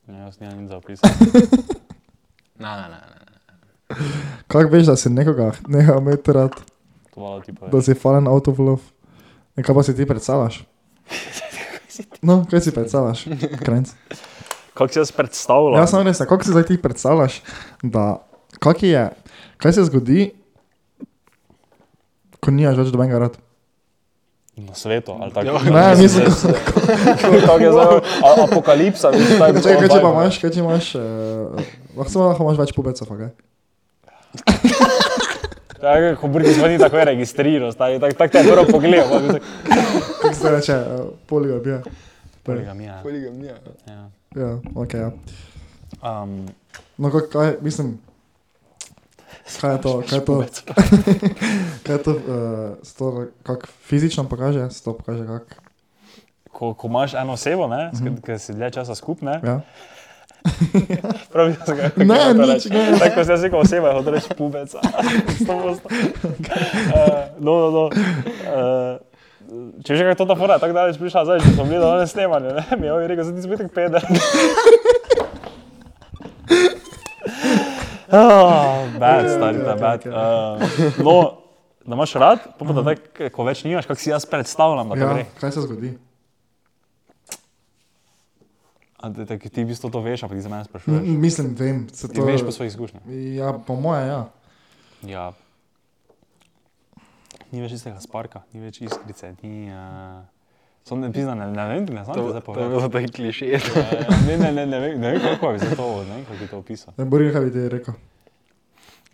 Speaker 5: Ne, jaz nisem nič zapisal. Ne, ne, ne, ne, ne.
Speaker 2: Kako veš, da si nekoga nehal imeti rad,
Speaker 5: to malo ti pa.
Speaker 2: da si fallen out of love? In kaj pa si ti predstavljaš? No, kaj si predstavljaš? Krenc.
Speaker 4: Kako si jaz predstavljal?
Speaker 2: Ja, samo res, a kako si zdaj ti predstavljaš, da kak je, kaj se zgodi, ko nimaš več dobenega rad?
Speaker 4: Na svetu, ali tako?
Speaker 2: Ja, Ne, mislim,
Speaker 4: Tako je zdaj a- apokalipsa, veš, tako
Speaker 2: Čakaj, kaj če pa imaš, kaj če imaš, eh, lahko samo lahko imaš več pubecov, a kaj?
Speaker 4: Tako, ko brki zveni, tako je registriral, tako tak, tak te je prvo pogledal. pa bi tako,
Speaker 2: Kako se reče, eh, poligamija.
Speaker 4: Poligamija.
Speaker 5: Poligamija.
Speaker 4: Ja.
Speaker 2: Ja, ok, ja.
Speaker 4: Um,
Speaker 2: No, kako- kaj, mislim, kaj je to, kaj je to, kaj je to, eh, se to kako fizično pokaže, se to pokaže kako.
Speaker 4: ko, ko imaš eno osebo, ne, mm
Speaker 2: Mhm.
Speaker 4: -hmm. ki si dlje časa skupne,
Speaker 2: Ja.
Speaker 4: pravi, da se ga
Speaker 2: Ne,
Speaker 4: kako hotel
Speaker 2: nič,
Speaker 4: reči. Tako se jaz rekel oseba, je hotel reči pubeca. Sto posto. Eh, No, no, no. Eh, Če že kako to fora, tako daleč prišla, zdaj že smo bili na snemanju, ne, mi je ovi rekel, zdaj ti zbitek peder. Oh, bad, stari, ta bad. Eh, No, da imaš rad, pa pa da tako, ko več nimaš, kako si jaz predstavljam, da to
Speaker 2: Ja,
Speaker 4: gre.
Speaker 2: kaj se zgodi?
Speaker 4: A da- da Ti v bistvu to veš, ampak ti za mene sprašuješ.
Speaker 2: M- Mislim, vem, se
Speaker 4: Ti
Speaker 2: Mm, to
Speaker 4: veš po svojih izkušnjah.
Speaker 2: Ja, po moje, ja.
Speaker 4: Ja. Ni več istega sparka, ni več iskrice, ni. Uh... Sam ne pizna, ne, ne vem, ne znam ti zdaj
Speaker 5: To je
Speaker 4: povedati.
Speaker 5: bilo tako kliše.
Speaker 4: Eh, Ne, ne, ne, ne, vem, ne vem, kako je za to, ne vem, kako bi to opisal.
Speaker 2: Ne bori, kaj bi ti rekel.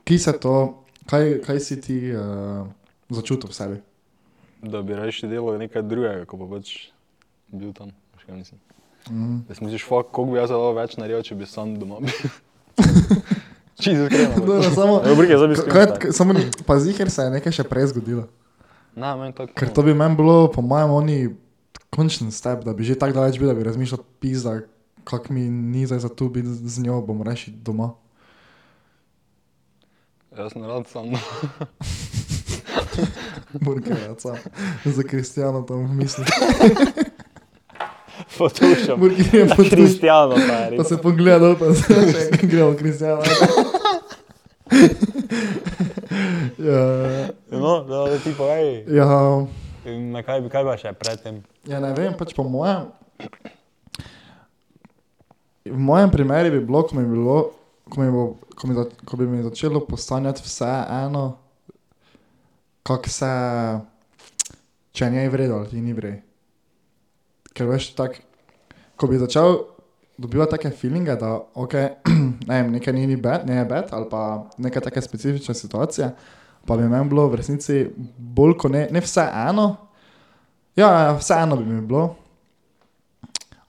Speaker 2: Ki se to, kaj, kaj si ti uh, začutil v sebi?
Speaker 5: Da bi rajši delal nekaj drugega, ko pa pač bil tam. Veš, kaj mislim.
Speaker 2: Mm.
Speaker 5: Jaz misliš, fuck, koliko bi jaz lahko več naredil, če bi sam doma bil. Čisto iskreno.
Speaker 2: Dobro, samo,
Speaker 4: Obrige, zdaj bi
Speaker 2: kaj, kaj, samo ni- pazi, ker se je nekaj še prej zgodilo.
Speaker 5: Na, meni tako.
Speaker 2: Ker to bi meni bilo, po mojem, oni končni step, da bi že tako daleč bil, da bi razmišljal, pizda, kak mi ni zdaj za tu biti z njo, bom reši doma.
Speaker 5: Jaz sem rad sam. doma.
Speaker 2: Burgeraca, za kristijano tam v mislih.
Speaker 4: Potušam.
Speaker 2: Burger je potuš.
Speaker 4: Kristijano, pa je
Speaker 2: Pa
Speaker 4: res.
Speaker 2: se pogleda dol, pa se reče, gremo kristijano. ja,
Speaker 4: No, no, da ti povej,
Speaker 2: ja,
Speaker 4: na kaj bi, kaj bi še predtem.
Speaker 2: Ja, ne vem, pač po mojem. V mojem primeru bi bilo, ko mi, je bilo, ko mi, bo, ko mi, za, ko bi mi začelo postanjati vse eno, kako se, če njej vredno ali ti ni vredno. Ker veš, tak, ko bi začel dobivati take feelinge, da okay, ne vem, nekaj ni, ni bed, ne je bed ali pa neke take specifične situacije, pa bi meni bilo v resnici bolj kot ne, ne vse eno, Ja, ja, vseeno bi mi bilo.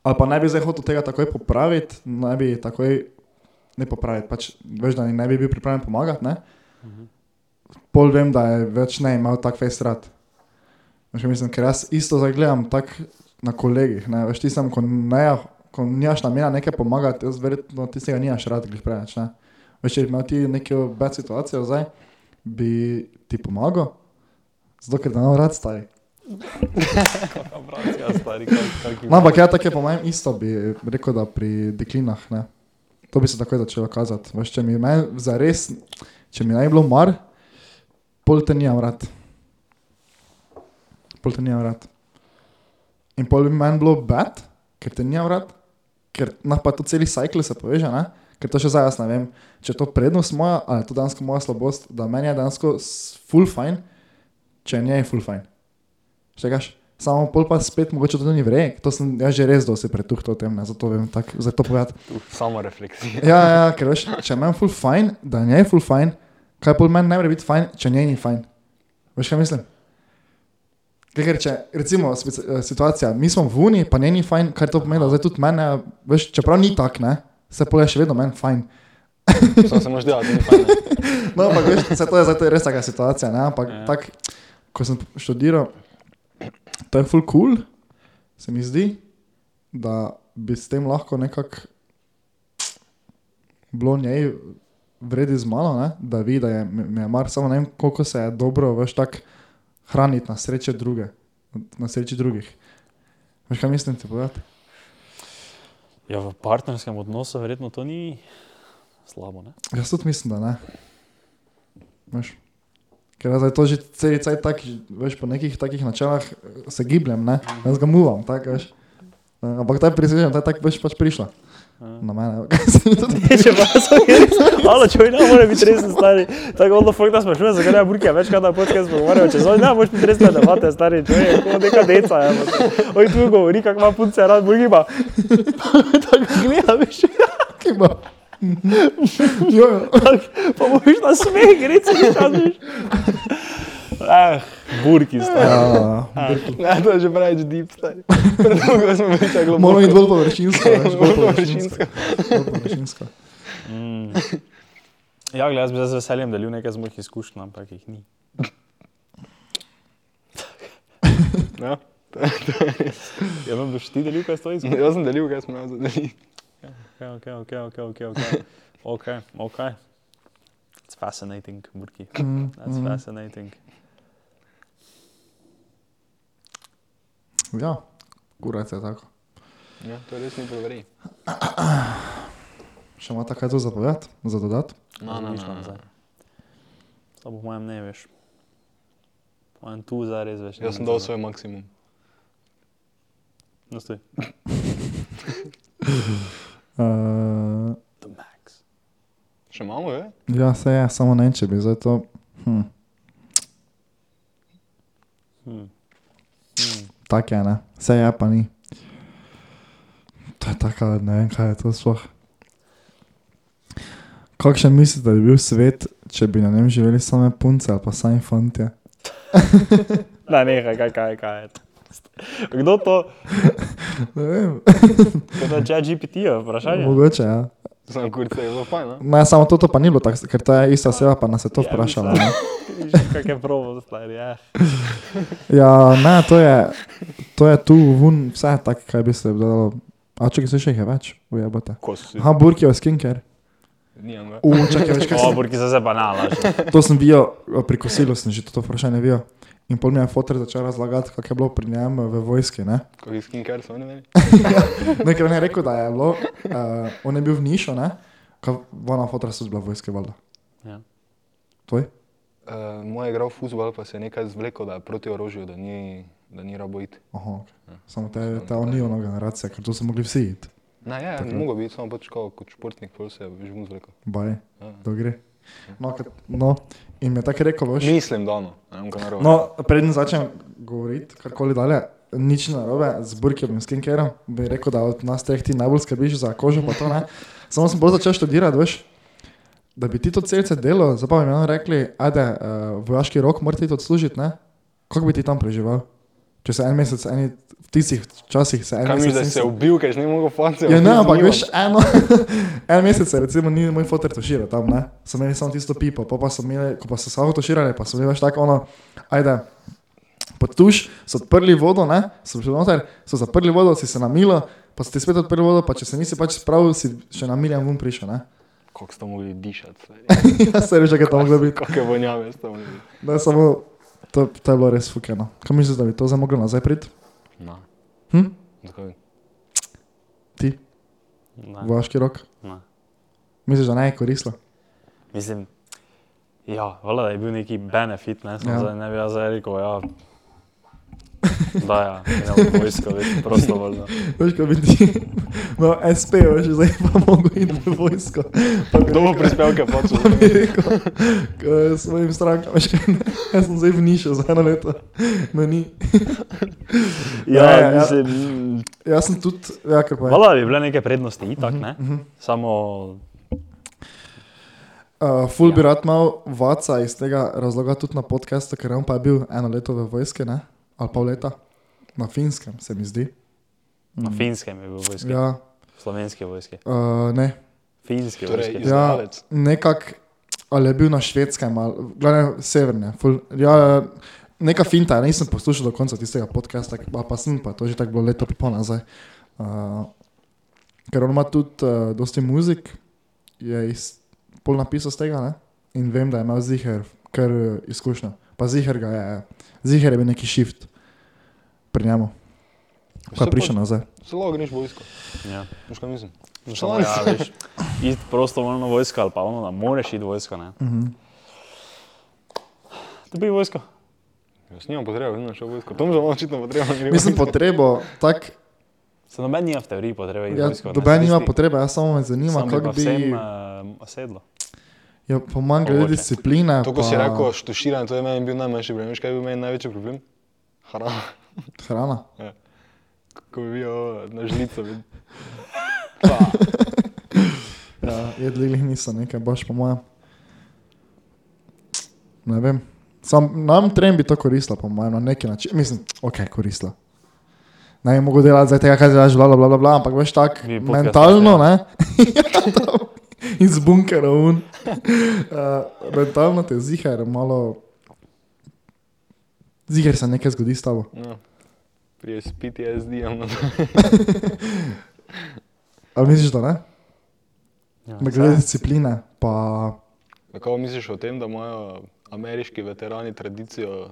Speaker 2: Ali pa ne bi zdaj hotel tega takoj popraviti, ne bi takoj ne popraviti. Pač, veš, da ne bi bil pripravljen pomagati. Ne? Pol vem, da je več ne imel tak fejs rad. Veš, kaj mislim, ker jaz isto zdaj gledam tak na kolegih. Ne? Veš, ti sem, ko, ne, ko nimaš namena nekaj pomagati, jaz verjetno tistega nimaš rad, glih preveč. Ne? Veš, če bi imel ti neko bad situacijo zdaj, bi ti pomagal, zato ker da nam rad stari.
Speaker 4: Abracija, stari, kak,
Speaker 2: No, ampak ja, tako je po mojem isto, bi rekel, da pri deklinah. Ne. To bi se takoj začelo kazati. Veš, če mi je zares, če mi ne bi bilo mar, pol te nijam rad. Pol te nijam rad. In pol bi meni bilo bed, ker te nijam rad, ker nah pa to celi cikl se poveže, ne? ker to še zdaj jaz ne vem, če je to prednost moja ali je to dejansko moja slabost, da meni je dejansko s- full fajn, če je njej full fajn. Štegaš? Samo pol pa spet mogoče to ni vrej, to sem jaz že res dosti pretuhtal o tem, ne? zato vem tako, zato povedati.
Speaker 5: Samo refleksija.
Speaker 2: Ja, ja, ja, ker veš, če meni full fajn, da njej full fajn, kaj pol meni ne more biti fajn, če njej ni fajn. Veš kaj mislim? Kaj, ker če, recimo, speci- eh, situacija, mi smo v Uni, pa njej ni fajn, kar to pomeni, da zdaj tudi mene, veš, čeprav ni tak, ne, se pol je še vedno meni fajn.
Speaker 5: Sam se moraš delati, ni fajn.
Speaker 2: No, ampak veš, vse to je, zdaj, to je res taka situacija. Ne? Ampak ja. tak, ko sem študiral, to je full cool, se mi zdi, da bi s tem lahko nekako bilo njej vredi z malo, ne? da vidi, da je, mi je mar, samo ne vem, koliko se je dobro, veš, tako hraniti na sreče druge, na sreči drugih. Veš, kaj mislim ti povedati?
Speaker 4: Ja, v partnerskem odnosu verjetno to ni slabo. Ne?
Speaker 2: Jaz tudi mislim, da ne. Veš. Ker jaz zdaj to že cel cel tak, veš, po nekih takih načelah eh, se gibljem, ne? jaz ga muvam, tako veš. Eh, Ampak ta prisežem, ta je tako veš pač prišla. Na mene, kaj se mi tudi
Speaker 4: Če pa so res, ali če ne more biti resen stari, tako onda fuck nas sprašuje, zakaj ne burke, večkrat na podcast pogovarjajo, če so ne moreš biti resna debata, stari, če je kot neka deca. Ja, Oj, tu govori, kako ima punce rad, burki pa. tako gleda, veš,
Speaker 2: giba. Jojo,
Speaker 4: tak, pa boš na smeh, reci, kaj kažeš. Ah, burki stari.
Speaker 2: Ja.
Speaker 5: Ne, to je že preveč deep, stari. Predolgo smo bili tako globoko.
Speaker 2: moramo iti bolj površinsko, veš, bolj
Speaker 5: površinsko.
Speaker 2: površinsko. Bolj površinsko.
Speaker 4: Mm. Ja, gleda, jaz bi zdaj z veseljem delil nekaj z mojih izkušenj, ampak jih ni.
Speaker 5: Ja.
Speaker 4: Ja, no, boš ti delil, kaj stoji izkušnja?
Speaker 5: Jaz sem delil, kaj smo jaz delili.
Speaker 4: Okay, okay, okay, okay, okay, okay. okay, okay. It's fascinating, Burki. That's
Speaker 2: Mm,
Speaker 5: Mhm.
Speaker 4: fascinating.
Speaker 2: Ja, kurac je tako.
Speaker 5: Ja, to res ni proveri.
Speaker 2: Še ima tako kaj tu zapovedati, za dodati?
Speaker 5: No, no, no, no.
Speaker 4: zdaj. To po mojem ne veš. Po mojem tu zdaj res veš.
Speaker 5: Jaz sem dal svoj maksimum.
Speaker 4: No, stoj.
Speaker 2: Uh,
Speaker 4: The max.
Speaker 5: Še imamo, je?
Speaker 2: ja, se je, samo ne, vem, če bi zdaj to. Hm,
Speaker 4: Hmm.
Speaker 2: tak je, ne. Se je, pa ni. To je tako, ne vem, kaj je to sploh. Kakšen mislite, da bi bil svet, če bi na njem živeli same punce ali pa sami fanti?
Speaker 4: Ne, nehaj, kaj, kaj, kaj je to. Kdo to?
Speaker 2: Ne vem,
Speaker 4: Kdo je GPT, je vprašanje?
Speaker 2: mogoče, ja.
Speaker 5: Sam kurce je zelo fajn, ne?
Speaker 2: Ne, samo to, to pa ni bilo tako, ker to je ista seba, pa nas je to
Speaker 4: Ja,
Speaker 2: vprašala.
Speaker 4: mislim.
Speaker 2: ne.
Speaker 4: Kak je probo, stari, ja.
Speaker 2: Ja, ne, to je, to je tu, vun, vse tako, kaj bi se dalo. A če se še jih je več, ujabate.
Speaker 5: Kos.
Speaker 2: Aha, burkijo skinker.
Speaker 5: Nimam ga.
Speaker 2: Učakaj, veš kaj
Speaker 4: O,
Speaker 2: se
Speaker 4: Burki se zdaj banala.
Speaker 2: To sem bil, pri kosilu sem že to vprašanje bil. In pol mi je fotor začel razlagati, kako je bilo pri njem v vojski. Ne?
Speaker 5: Kakšen skincare so oni imeli?
Speaker 2: Ne, ker on je rekel, da je bilo, uh, on je bil v Nišu, ne? Ka- Vona fotor so bila vojske, valjda.
Speaker 4: Ja.
Speaker 2: Tvoj?
Speaker 5: Uh, moj je igral fuzbol, pa se je nekaj zvleko, da je proti orožju, da ni, da ni rabo iti.
Speaker 2: Aha, okay. Samo te, te onijono generacija, ker to so mogli vsi iti.
Speaker 5: Ne, ja,
Speaker 2: Mhm.
Speaker 5: ne mogo biti, samo pač kao, kot športnik, pol se je že mu zvleko.
Speaker 2: Baj, to gre. No, ker- no, in mi je tako rekel, veš.
Speaker 5: Mislim, da no, ne vem, kaj narobe.
Speaker 2: No, preden začnem govoriti, karkoli dalje, nič ni narobe z burkijem in skinkerom, bi rekel, da od nas treh ti najbolj skrbiš za kožo, pa to ne. Samo sem bolj začel študirati, veš, da bi ti to celce delo, zdaj pa bi mi on rekli, ajde, uh, vojaški rok morate ti odslužiti, ne? Kako bi ti tam preživel? Če se en mesec, eni v tistih časih se en
Speaker 5: Kaj misliš,
Speaker 2: mesec...
Speaker 5: da
Speaker 2: nisi-
Speaker 5: se je ubil, ker si ne mogo fante?
Speaker 2: Ja, ne, ampak veš, eno, en mesec, se recimo, ni moj fotor toširal tam, ne. Sem imel samo tisto pipo, pa, pa so imeli, ko pa so samo toširali, pa so imeli več tako ono, ajde, potuš, so odprli vodo, ne, so šli noter, so zaprli vodo, si se namilo, pa so ti spet odprli vodo, pa če se nisi pač spravil, si še na miljem vun prišel, ne.
Speaker 5: Kako ste mogli dišati? stari?
Speaker 2: Ja, se reče, kaj tam moglo biti.
Speaker 5: Kakšne vonjave ste mogli?
Speaker 2: Ne, samo, to, to je bilo res fukeno. Kaj misliš, da bi to zdaj moglo nazaj priti?
Speaker 5: No.
Speaker 2: Hm?
Speaker 5: Zakaj?
Speaker 2: Ti,
Speaker 4: Ne.
Speaker 2: vojaški rok?
Speaker 4: Ne.
Speaker 2: Misliš, da ne je koristilo?
Speaker 4: Mislim, ja, valjda je bil neki benefit, ne,
Speaker 2: Ja.
Speaker 4: ja. zdaj, ne bi jaz zdaj rekel, ja. Da, ja, ne vojsko, več prostovoljno.
Speaker 2: Veš, kaj bi ti, no, SP, veš, zdaj pa mogo iti v vojsko. Pa bi
Speaker 5: Kdo bo prispevke plačal?
Speaker 2: bi rekel, k svojim strankam, veš, kaj ne, jaz sem zdaj v Nišu za eno leto, me ni. Ja,
Speaker 4: Ja,
Speaker 2: ja.
Speaker 4: ja, mislim,
Speaker 2: Jaz sem tudi, ja, kaj pa je.
Speaker 4: valjda bi bile neke prednosti, itak, ne.
Speaker 2: Mhm,
Speaker 4: Samo,
Speaker 2: Uh, ful bi rad imel vaca iz tega razloga tudi na podkastu, ker on pa je bil eno leto v vojski, ne, ali pol leta, na finskem, se mi zdi.
Speaker 4: na finskem je bil vojski, ja.
Speaker 2: Mhm. Ja,
Speaker 4: slovenski vojski,
Speaker 2: uh, ne,
Speaker 4: finski
Speaker 5: Torej,
Speaker 4: vojski.
Speaker 2: ja,
Speaker 5: Izdajalec.
Speaker 2: nekak, ali je bil na švedskem, ali glavne severne. Ful, ja, neka finta, je, nisem poslušal do konca tistega podcasta, pa, pa sem pa to je že tako bilo leto in pol nazaj. Uh, ker on ima tudi uh, dosti muzik, je iz, pol napisal z tega ne? in vem, da je imel ziher, ker izkušnja. Pa ziher ga je, ziher je bil neki shift pri njemu, ko
Speaker 5: Saj
Speaker 2: je
Speaker 5: pa-
Speaker 2: prišel nazaj.
Speaker 5: Zelo greš vojsko. Veš kaj mislim?
Speaker 4: Samo, ja, veš, iti prostovoljno vojsko ali pa ono, da moraš iti vojsko. Ne? Mm
Speaker 2: Mhm.
Speaker 4: -hmm. To bi vojsko.
Speaker 5: Jaz nimam potrebe, vedno šel v vojsko. Tom že imam očitno potrebo. da gre v
Speaker 2: Mislim,
Speaker 5: vojsko.
Speaker 2: potrebo, tako,
Speaker 4: Se noben nima v teoriji potrebe iti
Speaker 2: ja,
Speaker 4: vojsko. ne.
Speaker 2: doben nima
Speaker 4: Tisti-
Speaker 2: potrebe, jaz samo me zanima,
Speaker 4: samo bi pa
Speaker 2: kako bi,
Speaker 4: Vsem uh, sedlo.
Speaker 2: ja, po manj glede
Speaker 4: mogoče.
Speaker 2: discipline.
Speaker 5: To, ko si
Speaker 2: pa
Speaker 5: rekel, štuširanje, to je meni bil najmanjši problem. Veš kaj je bil meni največji problem? Hrana.
Speaker 2: Hrana.
Speaker 5: Ko bi bil ovo, na žlico. bi-
Speaker 2: Ja, jedli jih niso nekaj, baš po mojem. Ne vem. Sam, nam trem bi to koristilo, po mojem, na neki način. Mislim, ok, koristilo. Ne bi mogel delati zdaj tega, kaj zdaj živalo, bla, bla, bla, ampak veš tako
Speaker 4: Mi podcast
Speaker 2: mentalno, ne? Iz bunkera un. Uh, mentalno te zihar, malo. Zihar se nekaj zgodi s tabo.
Speaker 5: No. Prije s PTSD-om.
Speaker 2: Ali misliš, da ne?
Speaker 4: Ja,
Speaker 2: Ja, Glede discipline, pa
Speaker 5: Kako misliš o tem, da imajo ameriški veterani tradicijo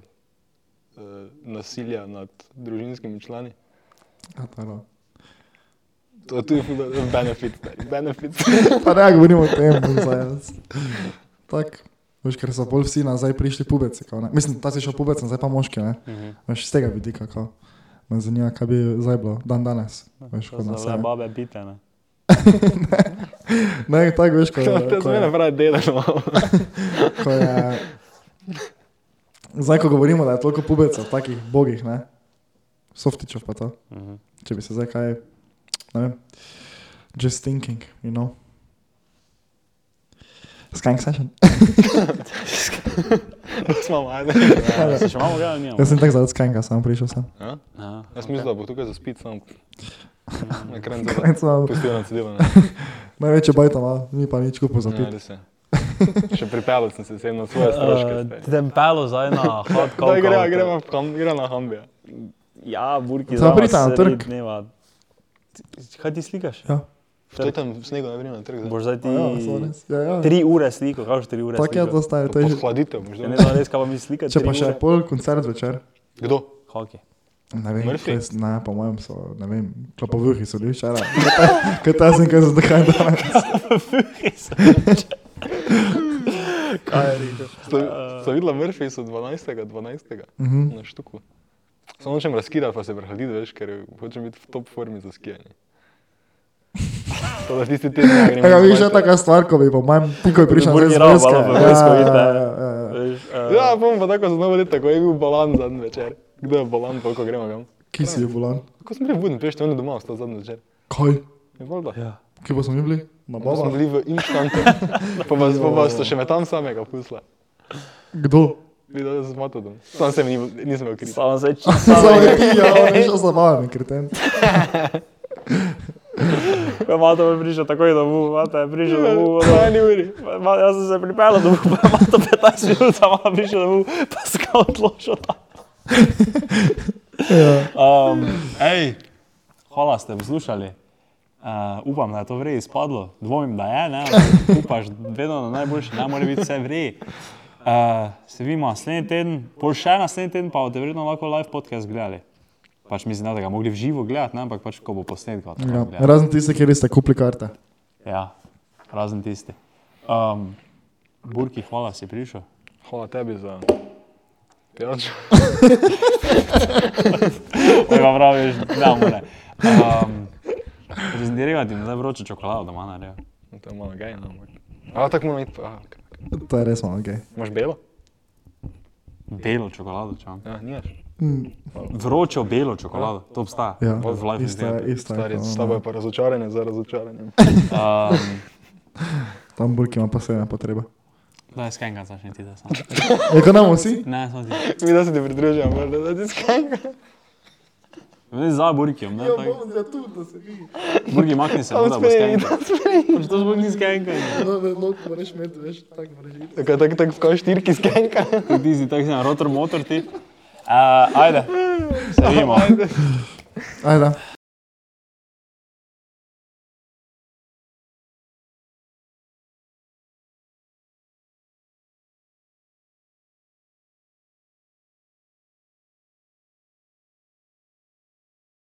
Speaker 5: eh, nasilja nad družinskimi člani?
Speaker 2: ja, to je bilo.
Speaker 5: To je tudi ful dober benefit. stari, benefit.
Speaker 2: Pa ne govorimo o tem, zajec. Tako. Veš, ker so bolj vsi nazaj prišli pubeci. kao ne. Mislim, ta si šel pubec, zdaj pa moški. Ne?
Speaker 4: Mhm.
Speaker 2: Veš, z tega vidika, kako. Me zanima, kaj bi zdaj bilo, dan danes. Veš,
Speaker 4: To
Speaker 2: kot nas
Speaker 4: so
Speaker 2: je.
Speaker 4: le babe bite. Ne?
Speaker 2: Ne, tako veš, ko,
Speaker 5: To je
Speaker 2: ko,
Speaker 5: za mene
Speaker 2: je,
Speaker 5: pravi no. delano.
Speaker 2: ko je... Zdaj, ko govorimo, da je toliko pubecev, takih bogih, ne? Softičev pa to. Če bi se zdaj kaj, ne vem, just thinking, you know. Skank session.
Speaker 4: No.
Speaker 5: Smo majhni.
Speaker 4: Ja, se še imamo, ga ali nimamo?
Speaker 2: Jaz sem tak zaradi skanka, sam prišel sem.
Speaker 4: Ja.
Speaker 5: Jaz mislim, da bo tukaj zaspit sam. Na kraju
Speaker 2: Kaj
Speaker 5: se
Speaker 2: sem?
Speaker 5: pustijo na cedilu. ne.
Speaker 2: Največje bajta ima, ni pa nič kupo za
Speaker 5: Ja,
Speaker 2: pit.
Speaker 5: res je. Še pripeljal sem se sem na svoje stroške. stari.
Speaker 4: Eh, Tempelo zdaj na hot
Speaker 5: Daj,
Speaker 4: coffee.
Speaker 5: gre, gremo v Ham- gremo na Hambija.
Speaker 4: Ja, burki
Speaker 2: Zdaj
Speaker 4: za
Speaker 2: pridite na trg.
Speaker 4: Dneva. Ti- Kaj ti slikaš?
Speaker 2: Ja.
Speaker 5: To je tam v snegu, ne vem, na trg.
Speaker 4: Boš zdaj ti
Speaker 2: Ja, so res. ja, ja.
Speaker 4: tri ure sliko, kaj že tri ure
Speaker 2: Tako je to
Speaker 4: sliko?
Speaker 2: stari, to je že.
Speaker 5: Podhladitev, možda.
Speaker 4: Ja, Ne znam res, kaj vam slika.
Speaker 2: Če pa še pol koncert zvečer.
Speaker 5: Kdo?
Speaker 4: Hockey.
Speaker 2: Ne vem,
Speaker 5: Murphy?
Speaker 2: res, ne, po mojem so, ne vem, klopovuhi so bili včeraj. Kaj ta- Kaj ta sem, kaj se dogaja danes.
Speaker 5: Sta sta videla Murphy so 12. 12. na štuku. Samo nočem razkirati, pa se prehladiti, veš, ker hočem biti v top formi za skijanje. To da tisti teden ne grem.
Speaker 2: Ja,
Speaker 5: na
Speaker 2: viš, je
Speaker 5: zmanjšanje.
Speaker 2: taka stvar, ko bi po mojem, ti ko je prišel
Speaker 4: Burni
Speaker 2: zdaj z
Speaker 4: rao,
Speaker 2: vojske.
Speaker 4: malo v
Speaker 2: ja,
Speaker 4: vojsko,
Speaker 2: ja,
Speaker 4: vidite.
Speaker 2: ja, ja, ja.
Speaker 4: Veš, eh,
Speaker 5: Ja, bom pa tako za novo leto, ko je bil balan zadnji večer. Kdo je balan, pa ko gremo kam?
Speaker 2: Ki si je bolan?
Speaker 5: Ko sem bil buden, prejšnji dan doma, ostal zadnji večer.
Speaker 2: Kaj?
Speaker 5: Je valjda. Ja.
Speaker 2: Kje pa smo mi bili? Na
Speaker 5: Pa
Speaker 2: baba.
Speaker 5: smo bili v inštantu, pa vas, pa vas so še me tam samega pusla.
Speaker 2: Kdo?
Speaker 5: Videla sem z matodom. Sam se mi ni- nisem okril.
Speaker 4: Samo zdaj čisto.
Speaker 2: Samo je ti, ja, on je šel zabaven, kreten.
Speaker 4: Mato je prišel takoj domov, Mato je prišel domov. ono.
Speaker 5: Eni uri.
Speaker 4: Ma- Jaz sem se pripeljal domov, pa je Mato 15 minut, a Mato prišel domov, pa se ga odločil. Um, ej, hvala ste poslušali. Uh, upam, da je to v reji izpadlo, dvomim, da je, ne, ampak upaš, vedno na najboljši, ne more biti vse v reji. Uh, se vidimo naslednji teden, pol še naslednji teden, pa boste verjetno lahko live podcast gledali. Pač mislim, ne, da ga mogli v živo gledati, ne, ampak pač ko bo posnet, ga boste
Speaker 2: Ja.
Speaker 4: lahko gledali.
Speaker 2: Razen tiste, kjer ste kupili karte.
Speaker 4: Ja, razen tisti. Um, Burki, hvala, si prišel.
Speaker 5: Hvala tebi za pijačo.
Speaker 4: Tega praviš, da more. Um, Zdirivati mi zdaj vročo čokolado doma narejo.
Speaker 5: To je malo gej, no. ampak- A tako moramo iti. aha, ok.
Speaker 2: To je res no, malo gej.
Speaker 5: Imaš belo?
Speaker 4: Belo čokolado, če imam.
Speaker 5: Ja, nimaš.
Speaker 4: Vročo belo čokolado, to obstaja.
Speaker 2: Ja,
Speaker 4: Bolj v life
Speaker 2: ista,
Speaker 4: izgleda.
Speaker 2: ista. je
Speaker 5: Stari,
Speaker 2: to, no,
Speaker 5: s
Speaker 2: ne.
Speaker 5: tabo je pa razočaranje za razočaranjem.
Speaker 4: Um,
Speaker 2: no. Tam burki ima pa seveda potrebe.
Speaker 4: Daj, skenga začne ti, da sem.
Speaker 2: Eko nam vsi?
Speaker 4: Ne, sem ti.
Speaker 5: Mi da se ti pridružujemo, morda da ti skakaj.
Speaker 4: Ne, za Burkijem, ne, tako.
Speaker 2: Ja, tu, da se vidi.
Speaker 4: Burki, makni se, da bo skenga. Pač to smo bili skenga.
Speaker 2: No, no, no, moraš imeti, veš, tako moraš iti.
Speaker 5: Tako, tako, tako, tako štirki skakaj.
Speaker 4: Ti si tak, rotor motor ti. Uh, ajde, se Eh, vidimo.
Speaker 2: Ajde.